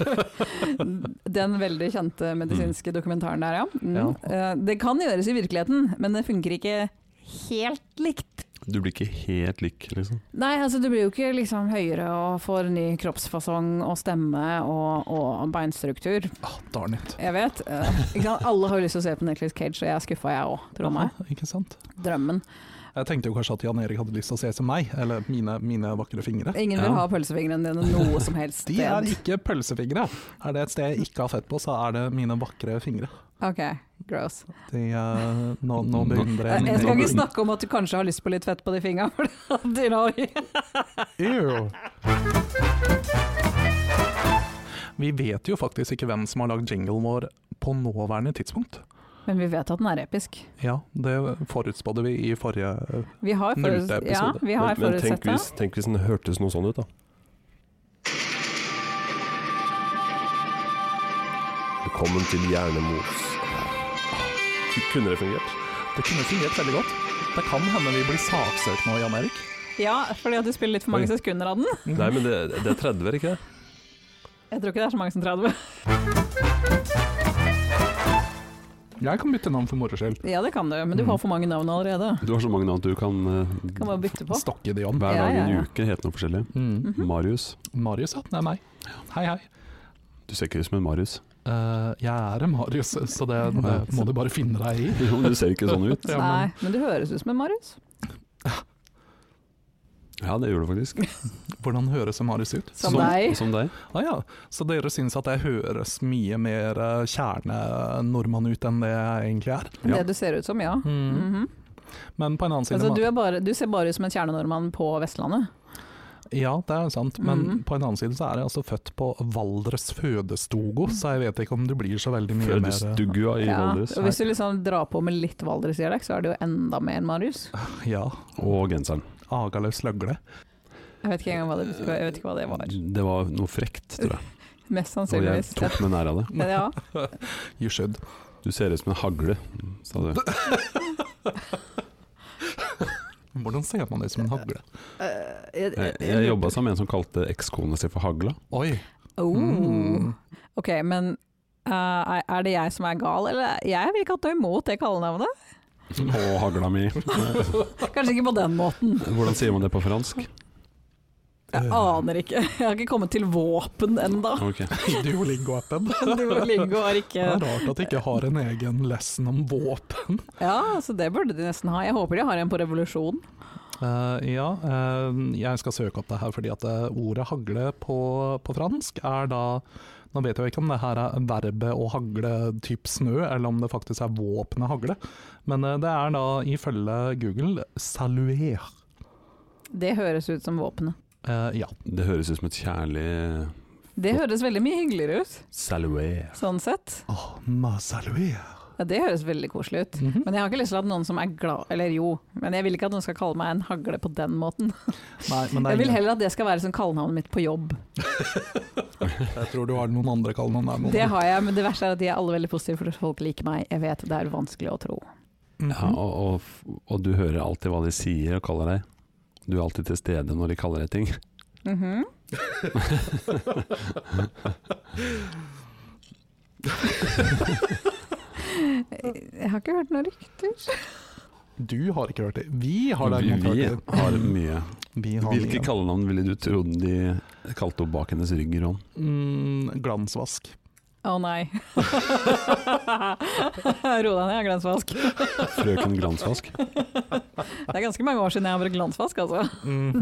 C: Den veldig kjente medisinske dokumentaren der, ja. Mm.
B: Ja.
C: Eh, Det kan gjøres i virkeligheten, men det funker ikke helt likt.
A: Du blir ikke helt lik, liksom.
C: Nei, altså du blir jo ikke liksom høyere og får ny kroppsfasong og stemme og, og beinstruktur.
B: Ah, darn it.
C: Jeg vet. eh, ikke sant? Alle har lyst til å se på Nicholas Cage, og jeg er skuffa jeg òg, tro meg.
B: Aha, Ikke sant?
C: Drømmen.
B: Jeg tenkte jo kanskje at Jan Erik hadde lyst til å se som meg, eller mine, mine vakre fingre.
C: Ingen vil
A: Ja.
C: ha pølsefingrene dine noe som helst
B: De er
C: sted.
B: ikke pølsefingre. Er det et sted jeg ikke har fett på, så er det mine vakre fingre.
C: Ok, gross. Eh,
B: De, eh, nå, nå beundrer
C: Jeg
B: jeg
C: jeg skal
A: nå-
C: ikke snakke om at du kanskje har lyst på litt fett på de fingra, for det har du nå.
B: Ew. Vi vet jo faktisk ikke hvem som har lagd jinglen vår på nåværende tidspunkt.
C: Men vi vet at den er episk.
B: Ja, det forutspådde vi i forrige eh,
C: Vi har,
B: Nullte
C: foruts ja,
B: episode.
C: vi har
D: Men, men
C: forutsett
D: tenk,
C: det.
D: hvis, tenk hvis den hørtes noe sånn ut, da. Velkommen til Hjernemos. Kunne det fungert?
B: Det kunne fungert veldig godt. Det kan hende vi blir saksøkt nå, Jan Erik.
C: Ja, fordi at du spiller litt for mange
D: Oi.
C: sekunder av den.
D: Nei, men det, det er 30, er det ikke det?
C: Jeg tror ikke det er så mange som 30.
B: Jeg kan bytte navn for moro skyld.
C: Ja, det kan du, men du har for mange navn allerede.
A: Du har så mange navn at du kan eh,
C: Kan bare bytte på.
B: Stokke de om.
A: Hver
C: Ja,
A: dag i
C: ja, Mhm. ja.
A: en uke hete noe forskjellig.
B: Mm.
A: Marius.
B: Marius, ja. Det er meg. Hei, hei.
A: Du ser ikke ut som en Marius.
B: Eh, jeg er en Marius, så det, det må du bare finne deg i.
A: Jo, men du ser ikke sånn ut.
B: Ja,
C: Nei,
B: men-
C: men du høres ut som en Marius.
A: Ja, det gjør det faktisk.
B: Hvordan høres Marius ut?
C: Som deg.
A: Som deg.
B: Ah, ja. Så dere syns at jeg høres mye mer eh, kjerne-nordmann ut enn det jeg egentlig er?
A: Ja.
C: Det du ser ut som, ja.
B: Mm.
C: Mhm.
B: Men på en annen side
C: Altså, du, er bare, du ser bare ut som en kjernenordmann på Vestlandet.
B: Ja, det er sant, men
C: Mhm.
B: på en annen side så er jeg altså født på Valdres fødestogo, så jeg vet ikke om du blir så veldig mye mer eh,
A: Fødestugua i
C: Ja.
A: Valdres.
C: Og hvis du liksom drar på med litt Valdres-dialekt, så er det jo enda mer Marius.
B: Ja,
A: Og genseren.
B: agalaus løgle.
C: Jeg vet ikke engang hva det, jeg vet ikke hva det var.
A: Det var noe frekt, tror jeg.
C: Mest
A: Og jeg
C: sannsynligvis.
A: tok meg nær av det.
C: Men ja,
B: You should.
A: Du ser ut som en hagle, sa du.
B: Hvordan ser man ut som en hagle?
C: eh, jeg-
A: Jeg,
C: jeg-
A: jeg jobba sammen med en som kalte ekskona si for hagla.
B: Oi!
C: Oh.
B: Mm.
C: Ok, men eh, er er det jeg som er gal, eller jeg vil ikke ha noe imot det kallenavnet?
A: Og hagla mi.
C: Kanskje ikke på den måten.
A: Hvordan sier man det på fransk?
C: Jeg
B: Eh,
C: aner ikke. Jeg har ikke kommet til våpen ennå.
A: Ok.
B: Duolingo-appen.
C: Duolingo har
B: Det
C: ikke
B: er rart at de ikke har en egen lesson om våpen.
C: Ja, så det burde de nesten ha. Jeg håper de har en på revolusjon.
B: Eh, ja, eh, jeg skal søke opp det her, fordi at eh, ordet hagle på, på fransk er da Nå vet jeg jo ikke om det her er verbet å hagle typ snø, eller om det faktisk er våpenet hagle, men eh, det er da ifølge Google saluer.
C: Det høres ut som våpenet.
B: Eh, ja.
A: Det høres ut som et kjærlig
C: Det høres veldig mye hyggeligere ut,
A: salué.
C: sånn sett.
B: Oh, ma saluer.
C: Ja, det høres veldig koselig ut.
B: Mhm.
C: Men jeg har ikke lyst til at noen som er glad Eller jo, men jeg vil ikke at noen skal kalle meg en hagle på den måten.
B: Nei, men det
C: Jeg
B: er
C: vil heller at det skal være som kallenavnet mitt på jobb.
B: Jeg tror du har noen andre kallenavn der. Mona.
C: Det har jeg, men det verste er at de er alle veldig positive, for folk liker meg. Jeg vet det er vanskelig å tro.
B: Mhm.
A: Ja, og, og, f- og du hører alltid hva de sier og kaller deg. Du er alltid til stede når de kaller deg ting.
C: Mhm. jeg har ikke hørt noen rykter.
B: Du har ikke hørt det. Vi har
A: vi,
B: derimot hørt
A: vi
B: det.
A: har mye.
B: Vi har
A: Hvilke
B: mye.
A: kallenavn ville du trodd de kalte opp bak hennes rygg, Ron?
B: Mm, glansvask.
C: Å nei. Ro deg ned, jeg har glansvask.
A: Frøken Glansvask?
C: Det er ganske mange år siden jeg har brukt glansvask, altså.
B: Mhm.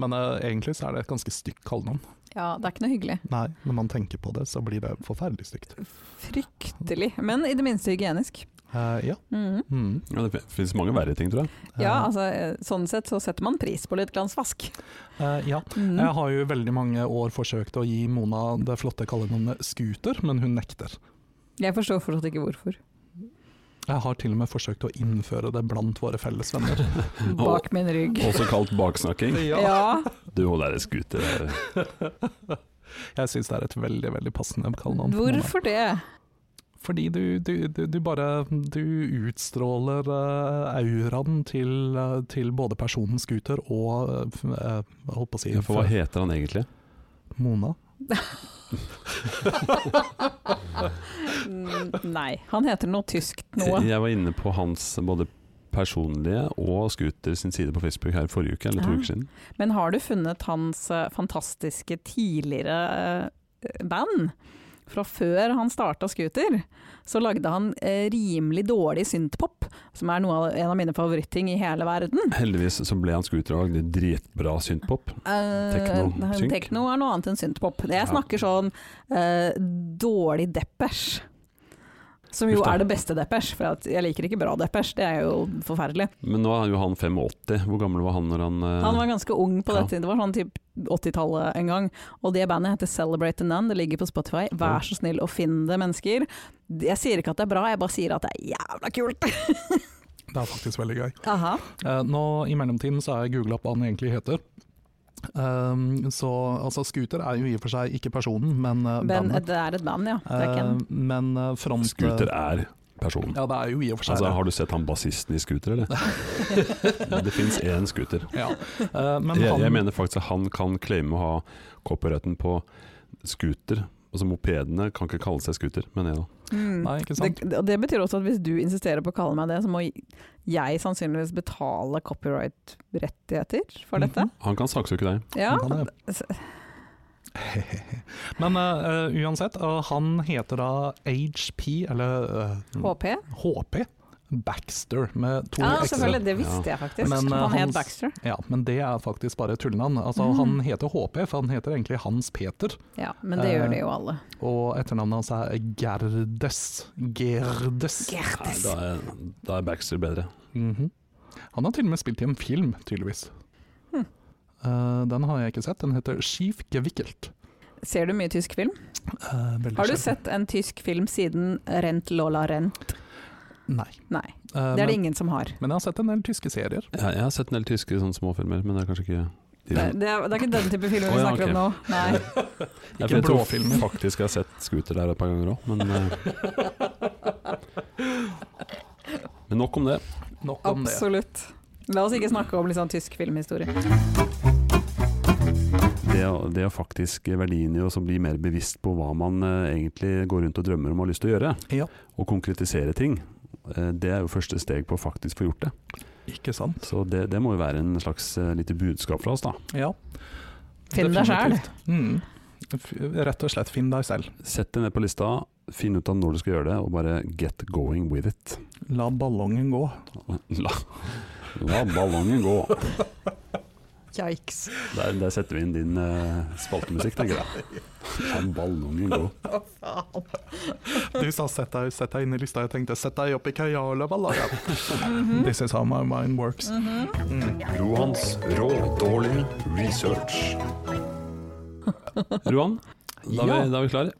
B: Men eh, egentlig så er det et ganske stygt kallenavn.
C: Ja, det er ikke noe hyggelig.
B: Nei, når man tenker på det, så blir det forferdelig stygt.
C: Fryktelig. Men i det minste hygienisk.
B: Eh, ja.
C: Mhm.
B: Mm.
A: Ja, det fin- finnes mange verre ting, tror jeg.
B: Eh,
C: Ja, altså eh, sånn sett så setter man pris på litt glansvask.
B: eh, ja.
C: Mhm.
B: Jeg har jo i veldig mange år forsøkt å gi Mona det flotte kallenavnet Scooter, men hun nekter.
C: Jeg forstår fortsatt ikke hvorfor.
B: Jeg har til og med forsøkt å innføre det blant våre felles venner.
C: Bak min rygg.
A: Også kalt baksnakking.
C: Ja.
A: Du holder deg skutt.
B: Jeg syns det er et veldig veldig passende kallenavn. for Mona.
C: Hvorfor det?
B: Fordi du, du, du, du bare Du utstråler eh, auraen til, eh, til både personen Scooter og eh, f- eh, Jeg holdt på å si
A: For hva heter han egentlig?
B: Mona.
C: Mm, Nei, han heter noe tyskt noe.
A: Jeg var inne på hans både personlige og Scooter sin side på Facebook her forrige uke, eller to
C: Ja.
A: uker siden.
C: Men har du funnet hans eh, fantastiske tidligere eh, band? Fra før han starta Scooter, så lagde han eh, rimelig dårlig synthpop, som er noe av, en av mine favoritting i hele verden.
A: Heldigvis så ble han Scooter og lagde dritbra syntpop.
C: Eh,
A: Tekno, synk?
C: Tekno er noe annet enn synthpop. Jeg
A: Ja.
C: snakker sånn eh, dårlig depeche. Som jo
A: Uff da.
C: er det beste depeche, for at jeg liker ikke bra depeche, det er jo forferdelig.
A: Men nå er jo han 85. Hvor gammel var han når han eh,
C: Han var ganske ung på
A: ja.
C: dette, det var sånn typ 80-tallet en gang. Og det bandet heter Celebrate the Nun, det ligger på Spotify. Vær så snill å finne det, mennesker. Jeg sier ikke at det er bra, jeg bare sier at det er jævla kult.
B: Det er faktisk veldig gøy.
C: Aha.
B: Eh, nå I mellomtiden så har jeg googla opp hva han egentlig heter. Um, så altså, Scooter er jo i og for seg ikke personen, men eh,
C: Men
B: bandet.
C: det er et band, ja. Det er ikke en
B: Eh, men eh, front...
A: Scooter er personen.
B: Ja, det er jo i og for seg
A: Altså,
B: det.
A: har du sett han bassisten i Scooter, eller? det fins én Scooter.
B: Ja. Eh, men
A: Jeg,
B: han,
A: jeg mener faktisk at han kan claime å ha copyrighten på Scooter. Altså Mopedene kan ikke kalle seg scooter, mener jeg da.
C: Mm.
B: Nei, ikke sant?
C: Det, og det betyr også at hvis du insisterer på å kalle meg det, så må jeg sannsynligvis betale copyright-rettigheter for dette.
B: Mhm.
A: Han kan saksøke deg.
C: Ja.
B: Han er- Men eh, eh, uansett, eh, han heter da HP, eller eh,
C: HP.
B: HP. Baxter med to
C: Ja,
B: ekstra.
C: selvfølgelig. Det visste jeg faktisk.
B: Men, eh,
C: han het
B: hans-
C: Baxter.
B: Ja, men det er faktisk bare tullenavn. Altså,
C: Mm.
B: Han heter HP, for han heter egentlig Hans Peter.
C: Ja, men det
B: eh,
C: gjør det jo alle.
B: Og etternavnet hans er Gerdes. Gerdes.
A: Nei, da, er, da er Baxter bedre.
B: Mhm. Han har til og med spilt i en film, tydeligvis.
C: Hm.
B: Eh, den har jeg ikke sett. Den heter Schief Gewickelt.
C: Ser du mye tysk film?
B: Eh, veldig
C: Har du
B: sjelden.
C: sett en tysk film siden Rent Lola Rent?
B: Nei.
C: Nei,
B: Eh,
C: det er det
B: men,
C: ingen som har.
B: men jeg har sett en del tyske serier.
A: Jeg, jeg har sett en del tyske sånne småfilmer, men det er kanskje ikke de-
C: Det er, det er, det er ikke den type filmer
A: Å,
C: vi
A: ja,
C: snakker
A: ok.
C: om nå. Nei.
A: Jeg
B: Ikke
A: tror
B: blåfilmer.
A: Faktisk jeg har sett Scooter der et par ganger òg, men eh. eh, Men nok om det.
B: Nok om det.
C: Absolutt. La oss ikke snakke om litt sånn tysk filmhistorie.
A: Det, å- det å faktisk verdien i å som bli mer bevisst på hva man eh, egentlig går rundt og drømmer om og har lyst til å gjøre,
B: Ja.
A: og konkretisere ting, eh, det er jo første steg på å faktisk få gjort det.
B: Ikke sant?
A: Så det, det må jo være en slags eh, lite budskap fra oss, da.
B: Ja.
C: Finn deg sjæl.
B: Definitivt. Mm. F- Rett og slett, finn deg selv.
A: Sett det ned på lista, finn ut av når du skal gjøre det, og bare get going with it.
B: La ballongen gå.
A: La, la ballongen gå.
C: Yikes.
A: Der, der setter vi inn din eh, spaltemusikk, tenker jeg. La ballongen gå.
B: Du sa 'sett deg, sett deg inn i lista', jeg tenkte 'sett deg opp i kajala ballongen'. This is how my mind works.
D: Johans rådårlig research.
A: Roan, da er vi,
B: Ja.
A: da er vi klare.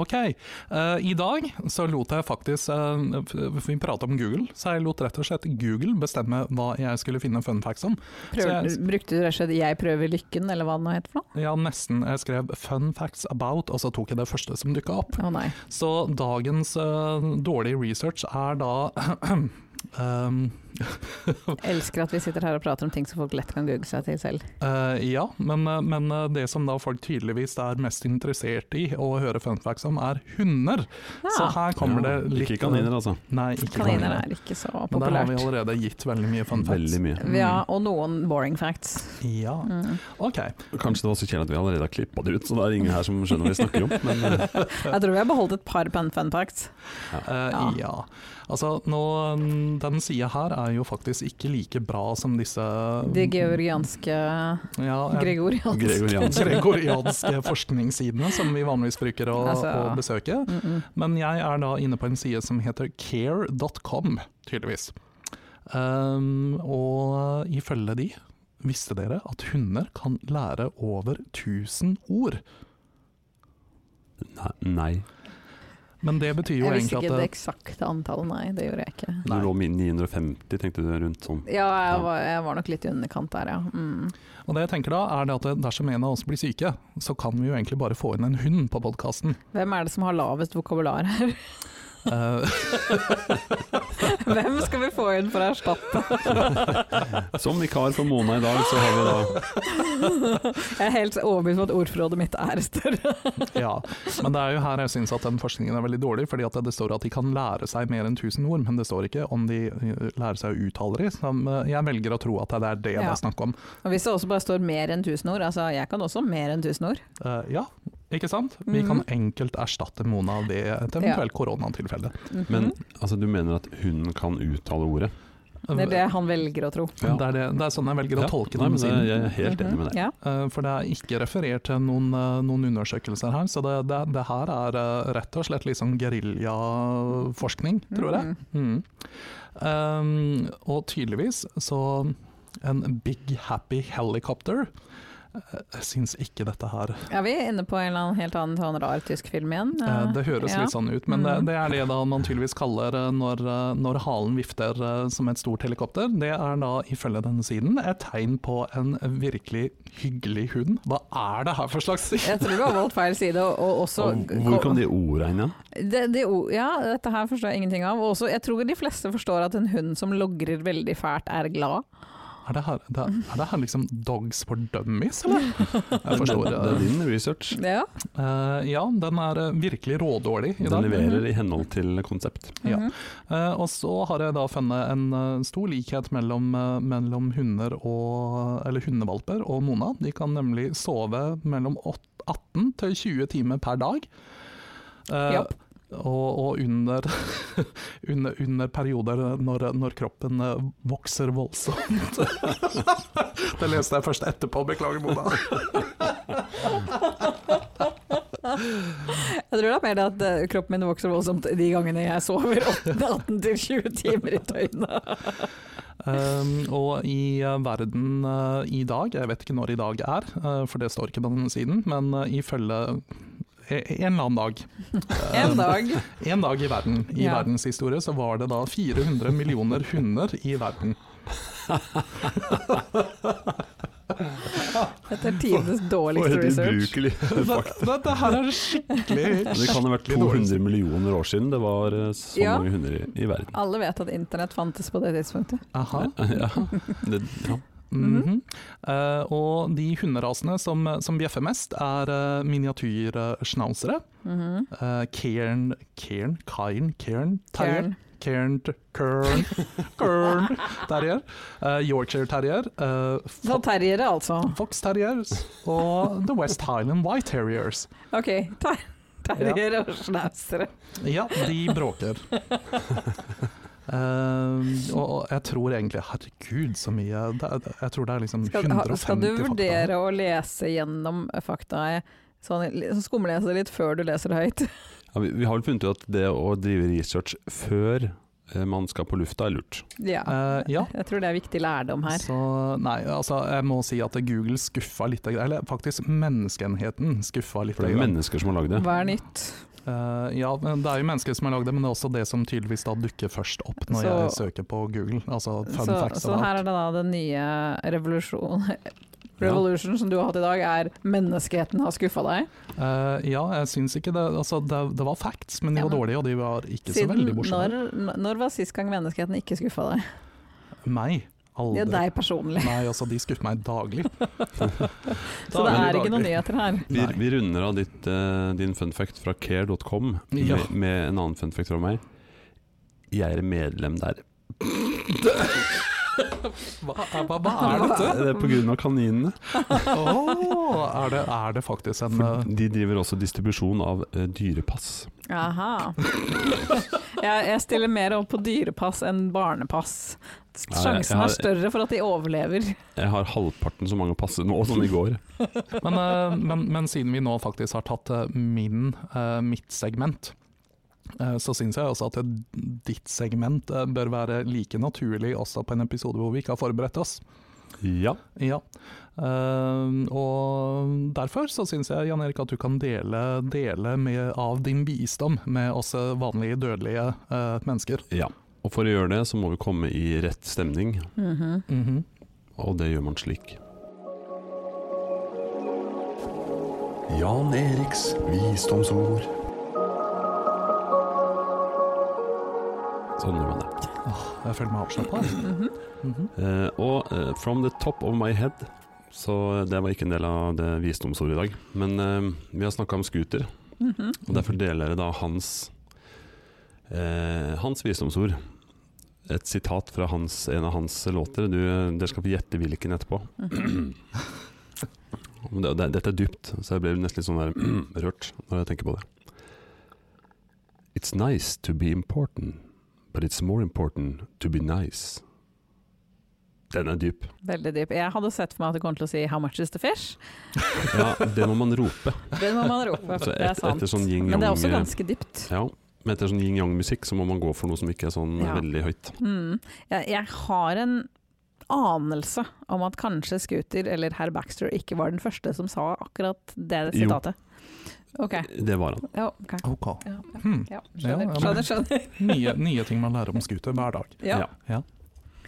B: Ok, eh, i dag så lot jeg faktisk, eh, f- f- vi pratet om Google, så jeg lot rett og slett Google bestemme hva jeg skulle finne fun facts om.
C: Prøv,
B: Så
C: brukte du rett og slett 'jeg prøver lykken', eller hva det nå heter for noe?
B: Jeg har nesten jeg skrev fun facts about, og så tok jeg det første som dukket opp.
C: Å nei.
B: Så dagens eh, dårlige research er da... Um,
C: Elsker at vi sitter her og prater om ting som folk lett kan google seg til selv.
B: eh, ja, men, eh, men eh, det som da folk tydeligvis er mest interessert i å høre fun facts om er hunder. Så
C: Ja.
B: her kommer det litt...
A: Ikke kaniner, altså.
B: Nei, ikke
C: Kaniner
B: kaniner.
C: er ikke så
B: Men der har vi Mm.
C: populært.
B: allerede gitt veldig mye fun facts.
A: Veldig mye.
C: Ja, og noen boring facts.
B: Ja,
C: Mm.
B: ok. Eh,
A: Kanskje det var så kjedelig at vi allerede har klippa det ut, så det er ingen her som skjønner hva vi snakker om. Men eh,
C: Jeg tror vi har beholdt et par fun fun facts.
B: Eh, ja.
C: Ja.
B: Altså, nå, mm, den sida her er jo faktisk ikke like bra som disse
C: De georgianske
B: ja, eh,
C: gregorianske.
A: Gregor Jansen
B: gregorianske forskningssidene som vi vanligvis bruker å,
C: Altså,
B: å besøke.
C: Mm -mm.
B: Men jeg er da inne på en side som heter care.com, tydeligvis. Um, og ifølge de visste dere at hunder kan lære over 1000 ord.
A: Nei. nei.
B: Men det betyr jo
C: Jeg visste
B: egentlig
C: ikke
B: at
C: det eksakte antallet, nei. Det gjorde jeg ikke.
A: Du
B: Nei.
A: lå med 950, tenkte du, rundt sånn.
C: Ja,
A: Ja.
C: jeg var, jeg var nok litt i underkant der, ja. Mm.
B: Og det jeg tenker da, er det at dersom en av oss blir syke, så kan vi jo egentlig bare få inn en hund på podkasten.
C: Hvem er det som har lavest vokabular her?
B: Eh,
C: Hvem skal vi få inn for å erstatte?
A: Som vikar for Mona i dag, så har vi da
C: Jeg er helt overbevist om at ordforrådet mitt er større.
B: ja. Men det er jo her jeg syns at den forskningen er veldig dårlig, fordi at det står at de kan lære seg mer enn 1000 ord, men det står ikke om de eh, lærer seg å uttale de. Så eh, jeg velger å tro at det er det det
C: Ja.
B: er snakk om.
C: Og hvis det også bare står mer enn tusen ord, altså jeg kan også mer enn tusen ord.
B: Eh, ja, ikke sant? Vi kan
C: Mhm.
B: enkelt erstatte Mona ved et eventuelt koronatilfelle.
C: Mhm.
A: Men altså, du mener at hunden kan uttale ordet?
C: det er det han velger å tro.
A: Ja.
B: Det, er det, det er sånn jeg velger å
A: Ja,
B: tolke
A: nei,
B: den
A: men det,
B: siden.
A: jeg er helt enig med deg.
C: Mhm. Ja.
B: Eh, For det er ikke referert til noen, eh, noen undersøkelser her, så det, det, det her er eh, rett og slett liksom geriljaforskning, tror
C: Mhm.
B: jeg. Mm. Um, og tydeligvis så en Big Happy Helicopter Eh, Jeg syns ikke dette her
C: Er vi inne på en eller annen helt annen sånn rar tysk film igjen?
B: eh, Det høres
C: ja. Mm.
B: litt sånn ut, men det, det er det da man tydeligvis kaller eh, når, eh, når halen vifter eh, som et stort helikopter. Det er da ifølge denne siden et tegn på en virkelig hyggelig hund. Hva er det her for slags
C: Jeg tror du har valgt feil side, og, og også
A: Og hvor kom de orda inn igjen?
C: Det, det, o- ja, dette her forstår jeg ingenting av. Og Også, jeg tror de fleste forstår at en hund som logrer veldig fælt, er glad.
B: Er det her, det er, er det her liksom dogs for dummies, eller? Jeg forstår.
A: Det er
B: eh,
A: din research.
C: Ja.
B: eh, ja, den er eh, virkelig rådårlig i
A: Den
B: dag.
A: leverer i henhold til konsept.
B: Ja. Eh, og så har jeg da funnet en eh, stor likhet mellom, eh, mellom hunder og, eller hundevalper og Mona. De kan nemlig sove mellom åt- 18 til 20 timer per dag. Eh,
C: Japp.
B: Og, og under, under, under perioder når, når kroppen eh, vokser voldsomt. det leste jeg først etterpå, beklager Mona.
C: Jeg tror det er mer det at eh, kroppen min vokser voldsomt de gangene jeg sover 18-20 timer i døgnet.
B: Um, og i eh, verden eh, i dag, jeg vet ikke når i dag er, eh, for det står ikke på denne siden, men uh, ifølge e- en eller annen dag. um,
C: En dag.
B: En dag i verden. I
C: Ja.
B: verdens historie så var det da 400 millioner hunder i verden.
C: Dette er tidenes
A: For
C: dårligste
A: et
C: research.
A: ubrukelig fakt.
B: Dette, dette her er skikkelig
A: Det kan ha vært
B: skikkelig dårlig.
A: 200 millioner år siden det var eh, så
C: Ja.
A: mange hunder i, i verden.
C: Alle vet at internett fantes på det tidspunktet.
B: Aha.
A: Ja. Det, ja.
B: Mhm. Eh, og de hunderasene som, som bjeffer mest, er uh, miniatyrschnauzere.
C: Mhm.
B: Uh, cairn Cairn? Cairn? Cairn? Terrier?
C: Kjern.
B: Cairn Cairn Cairn Terrier. eh, Yorkshire Terrier. eh,
C: Så
B: Fo
C: terriere, altså.
B: Fox Terriers og The West Highland White Terriers.
C: Ok, ter terriere og schnauzere.
B: Ja, de bråker. Eh, og, og jeg tror egentlig Herregud, så mye det, er- det- Jeg tror det er liksom
C: Skal, ha-
B: 150
C: skal du
B: fakta.
C: vurdere å lese gjennom eh, fakta? Sånn, li- så skumlese det litt før du leser det høyt.
A: Ja, vi, vi har vel funnet ut at det å drive research før eh, man skal på lufta, er lurt.
C: Ja.
B: Eh, ja.
C: Jeg tror det er viktig lærdom her.
B: Så, nei, altså jeg må si at Google skuffa litt, eller faktisk menneskeenheten skuffa litt.
A: For det er mennesker som har lagd det.
C: Hva er nytt?
B: Eh, ja, men det er jo mennesker som har lagd det, men det er også det som tydeligvis da dukker først opp når
C: Så-
B: jeg søker på Google. Altså fun
C: Så,
B: facts
C: så
B: about.
C: her er det da den nye revolusjon Revolution som du har hatt i dag, er menneskeheten har skuffa deg.
B: Eh, ja, jeg syns ikke det Altså, det, det var facts, men de
C: Ja,
B: var
C: men-
B: dårlige, og de var ikke så
C: Siden
B: veldig
C: når,
B: morsomme.
C: når var sist gang menneskeheten ikke skuffa deg?
B: Meg. Aldri.
C: Ja, deg personlig.
B: Nei, altså, de skuffer meg daglig.
C: Så det er ikke noen nyheter her.
A: Vi,
B: Nei.
A: vi runder av ditt, eh, din fun fact fra care.com
B: Ja.
A: med, med en annen fun fact fra meg. Jeg er medlem der.
B: Hva, hva, hva er dette?
A: Det er pga. kaninene.
B: Åh, er, det, er det faktisk en
A: For
B: eh,
A: de driver også distribusjon av eh, dyrepass.
C: Aha. Jeg, jeg stiller mer opp på dyrepass enn barnepass.
A: Nei,
C: Sjansen
A: jeg
C: er
A: har-
C: større for at de overlever.
A: Jeg har halvparten så mange pass nå som i går.
B: Men, eh, men, men siden vi nå faktisk har tatt eh, min, eh, mitt segment, eh, så syns jeg også at det- ditt segment eh, bør være like naturlig også på en episode hvor vi ikke har forberedt oss.
A: Ja.
B: Ja. Eh, og derfor så syns jeg Jan Erik at du kan dele, dele med, av din visdom med oss eh, vanlige dødelige eh, mennesker.
A: ja. Og for å gjøre det, så må vi komme i rett stemning,
C: Mhm.
B: Mhm.
A: og det gjør man slik.
E: Jan Eriks visdomsord.
A: Sånn gjør man det.
B: Jeg føler meg avslappa. Mhm.
A: Eh, og eh, from the top of my head Så det var ikke en del av det visdomsordet i dag. Men eh, vi har snakka om scooter, og derfor deler jeg da hans eh, Hans visdomsord. Et sitat fra hans, en av hans låter. Du, eh, dere skal få gjette hvilken etterpå. Men det, det, dette er dypt, så jeg ble nesten litt sånn der rørt når jeg tenker på det. It's nice to be important, but it's more important to be nice. Den er dyp.
C: Veldig dyp. Jeg hadde sett for meg at du kom til å si 'how much is the fish'?
A: Ja, det må man rope.
C: Det må man rope.
A: Så
C: Det
A: et-
C: er sant.
A: etter sånn yin-yang-
C: Men det er også ganske dypt.
A: Ja, men etter sånn yin-yang-musikk så må man gå for noe som ikke er sånn
C: Ja.
A: veldig høyt.
C: Mm. Jeg, jeg har en anelse om at kanskje Scooter eller herr Baxter ikke var den første som sa akkurat det
A: Jo.
C: sitatet. Ok.
A: Det var han.
C: Ja, ok.
B: Ok.
C: Ja, ja.
B: Hmm.
C: Ja,
B: Ja, ja,
C: skjønner,
B: men-
C: skjønner. skjønner.
B: Nye, nye ting man lærer om scooter hver dag.
C: Ja.
A: Ja.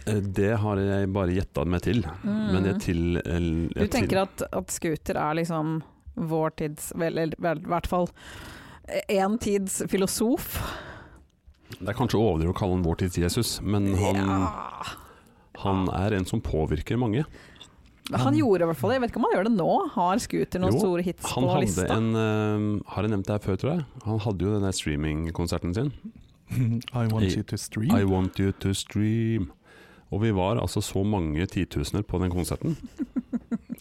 A: Eh, Det har jeg bare gjetta meg til,
C: Mm.
A: men jeg til... el-
C: Du
A: jeg
C: tenker at, at Scooter er liksom vår tids, vel, eller vel, i hvert fall eh, en tids filosof?
A: til, Det er kanskje å overdrive å kalle han vår tids Jesus, men han,
C: Ja.
A: han er en som påvirker mange.
C: Han gjorde i hvert fall det. Jeg vet ikke om han gjør det nå. Har Scooter noen
A: Jo,
C: store hits
A: Han
C: på
A: hadde
C: lista?
A: en eh, Har jeg nevnt det her før, tror jeg? Han hadde jo den der streamingkonserten sin.
B: I want
A: I-
B: you to stream.
A: I want you to stream. Og vi var altså så mange titusener på den konserten.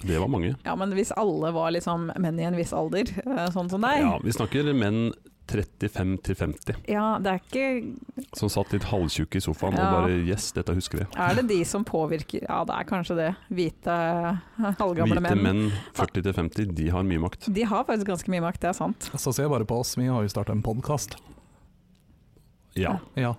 A: Det var mange.
C: Ja, men hvis alle var liksom menn i en viss alder, eh, sånn som deg
A: Ja, vi snakker menn 35 til 50,
C: Ja, det er ikke
A: som satt litt halvtjukke i sofaen og
C: Ja.
A: bare Yes, dette husker vi.
C: Er det de som påvirker Ja, det er kanskje det. Hvite, halvgamle
A: Hvite menn,
C: menn.
A: 40 til 50, de har mye makt.
C: De har faktisk ganske mye makt, det er sant.
B: Så ser jeg bare på oss, vi har jo starta en podkast.
A: Ja,
B: Ja.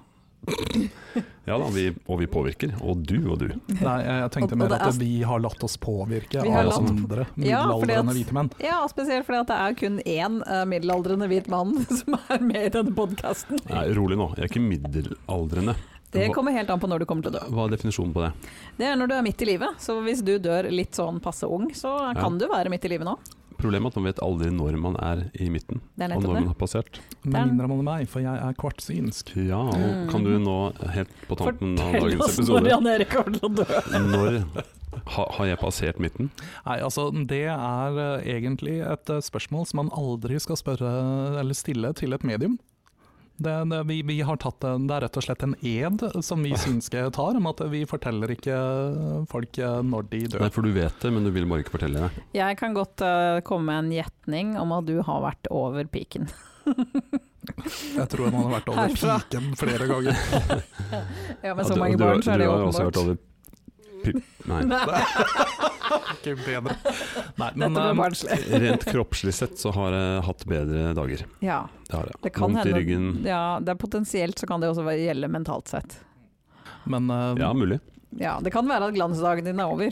A: ja da, vi, og vi påvirker. Og du og du.
B: Nei, jeg jeg
C: Og-
B: tenkte
C: og
B: mer
C: det
B: at
C: er-
B: vi har latt oss påvirke
C: Vi har
B: av
A: latt-
B: andre
C: Ja, fordi at-
B: middelaldrende hvite menn.
C: Ja, og spesielt fordi at det er kun én eh, middelaldrende hvit mann som er med i denne podkasten.
A: Nei, rolig nå, jeg er ikke middelaldrende.
C: Det
A: hva-
C: kommer helt an på når du kommer til å dø.
A: Hva er definisjonen på det?
C: Det er når du er midt i livet, så hvis du dør litt sånn passe ung, så kan du være midt i livet nå.
A: Problemet er at man vet aldri når man er i midten,
C: Det er
A: og når man
C: nettopp det.
A: har passert.
B: Med mindre man er meg, for jeg er kvartsynsk.
A: Ja, og kan du nå, helt på tampen av
C: Mm. Fortell
A: dagens
C: oss altså, når
A: episode,
C: Jan Erik kommer til å dø.
A: når ha, har jeg passert midten?
B: Nei, altså, det er eh, egentlig et eh, spørsmål som man aldri skal spørre eller stille til et medium. Det, det, vi, vi har tatt en, det er rett og slett en ed som vi synske tar, om at vi forteller ikke folk eh, når de
A: Nei,
B: dør.
A: for du vet det, men du vil bare ikke fortelle det.
C: Jeg kan godt eh, komme med en gjetning om at du har vært over piken.
B: Jeg tror man har vært over
C: Herfra.
B: piken flere ganger.
C: Ja,
A: Ja,
C: med så
A: du-
C: mange
A: du-
C: barn, så er det
A: Du
C: jo
A: har også vært
C: åpenbart.
A: over pi- Nei.
B: Ikke bedre. Nei,
C: Dette
B: men
C: ble
B: eh,
C: barnslig.
A: Rent kroppslig sett så har jeg hatt bedre dager.
C: Ja.
A: Det har jeg.
C: Det kan
A: Vondt i
C: hende-
A: ryggen.
C: Ja, det er potensielt så kan det også være- gjelde mentalt sett.
B: men, eh,
A: Ja, mulig.
C: Ja, det kan være at glansdagen din er over.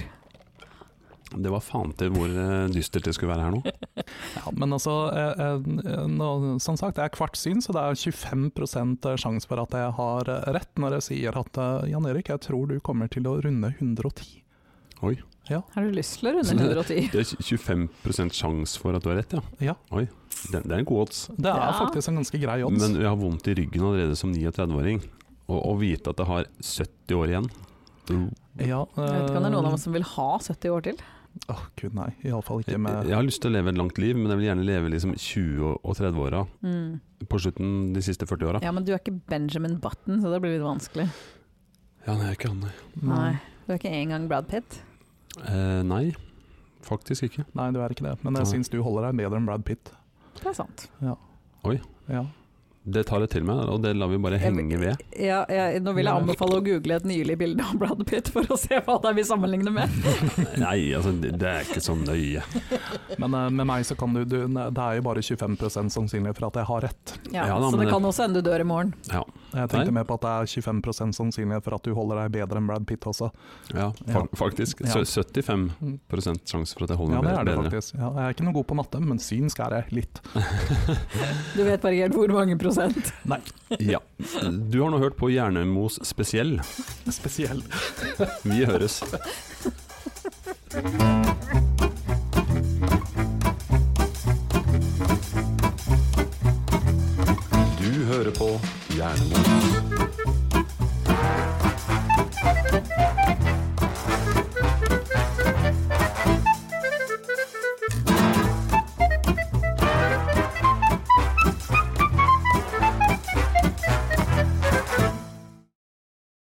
A: Det var faen til hvor eh, dystert det skulle være her nå.
B: Ja, men altså, eh, eh, nå, som sagt, jeg er kvartsyn, så det er 25 sjanse for at jeg har eh, rett når jeg sier at eh, Jan Erik, jeg tror du kommer til å runde 110.
C: Har du lyst til å runde 110?
A: Det er 25 sjanse for at du har rett, ja.
B: Ja.
A: Oi, det, det er en god odds.
B: Det er
C: Ja.
B: faktisk en ganske grei odds.
A: Men jeg har vondt i ryggen allerede som 39-åring. Og å vite at jeg har 70 år igjen
B: ja, eh,
C: Jeg vet ikke om det er noen av oss som vil ha 70 år til.
B: Åh, gud nei. Iallfall ikke
A: jeg,
B: med
A: jeg har lyst til å leve et langt liv, men jeg vil gjerne leve liksom 20- og- og 30-åra
C: Mm.
A: på slutten de siste 40 åra.
C: Ja, men du er ikke Benjamin Button, så det blir litt vanskelig.
A: Ja, nei, jeg er ikke han, nei.
B: Mm,
C: Nei. Du er ikke engang Brad Pitt.
A: Eh, nei, faktisk ikke.
B: Nei, du er ikke det. Men
A: Nei.
B: jeg syns du holder deg bedre enn Brad Pitt.
C: Det er sant.
B: Ja.
A: Det tar jeg til meg, og det lar vi bare
C: Jeg-
A: henge ved.
C: Ja, jeg, nå vil jeg anbefale å google et nylig bilde av Brad Pitt for å se hva det er vi sammenligner med.
A: Nei, altså, det, det er ikke så nøye.
B: Men eh, med meg så kan du, du Det er jo bare 25 sannsynlig for at jeg har rett.
C: Ja,
A: Ja da,
C: så
A: men
C: det
A: det-
C: kan også hende du dør i morgen.
B: Jeg tenkte mer på at det er 25 sannsynlig for at du holder deg bedre enn Brad Pitt også.
A: Ja, fa faktisk.
B: Ja.
A: Så 75 sjanse for at jeg holder
B: Ja,
A: meg
B: det er det
A: bedre.
B: faktisk. Ja, jeg er ikke noe god på matte, men synsk er jeg litt.
C: Du vet bare ikke helt hvor mange prosent.
B: Nei,
A: Ja. Du har nå hørt på Jernømos spesiell.
B: spesiell.
A: Vi høres.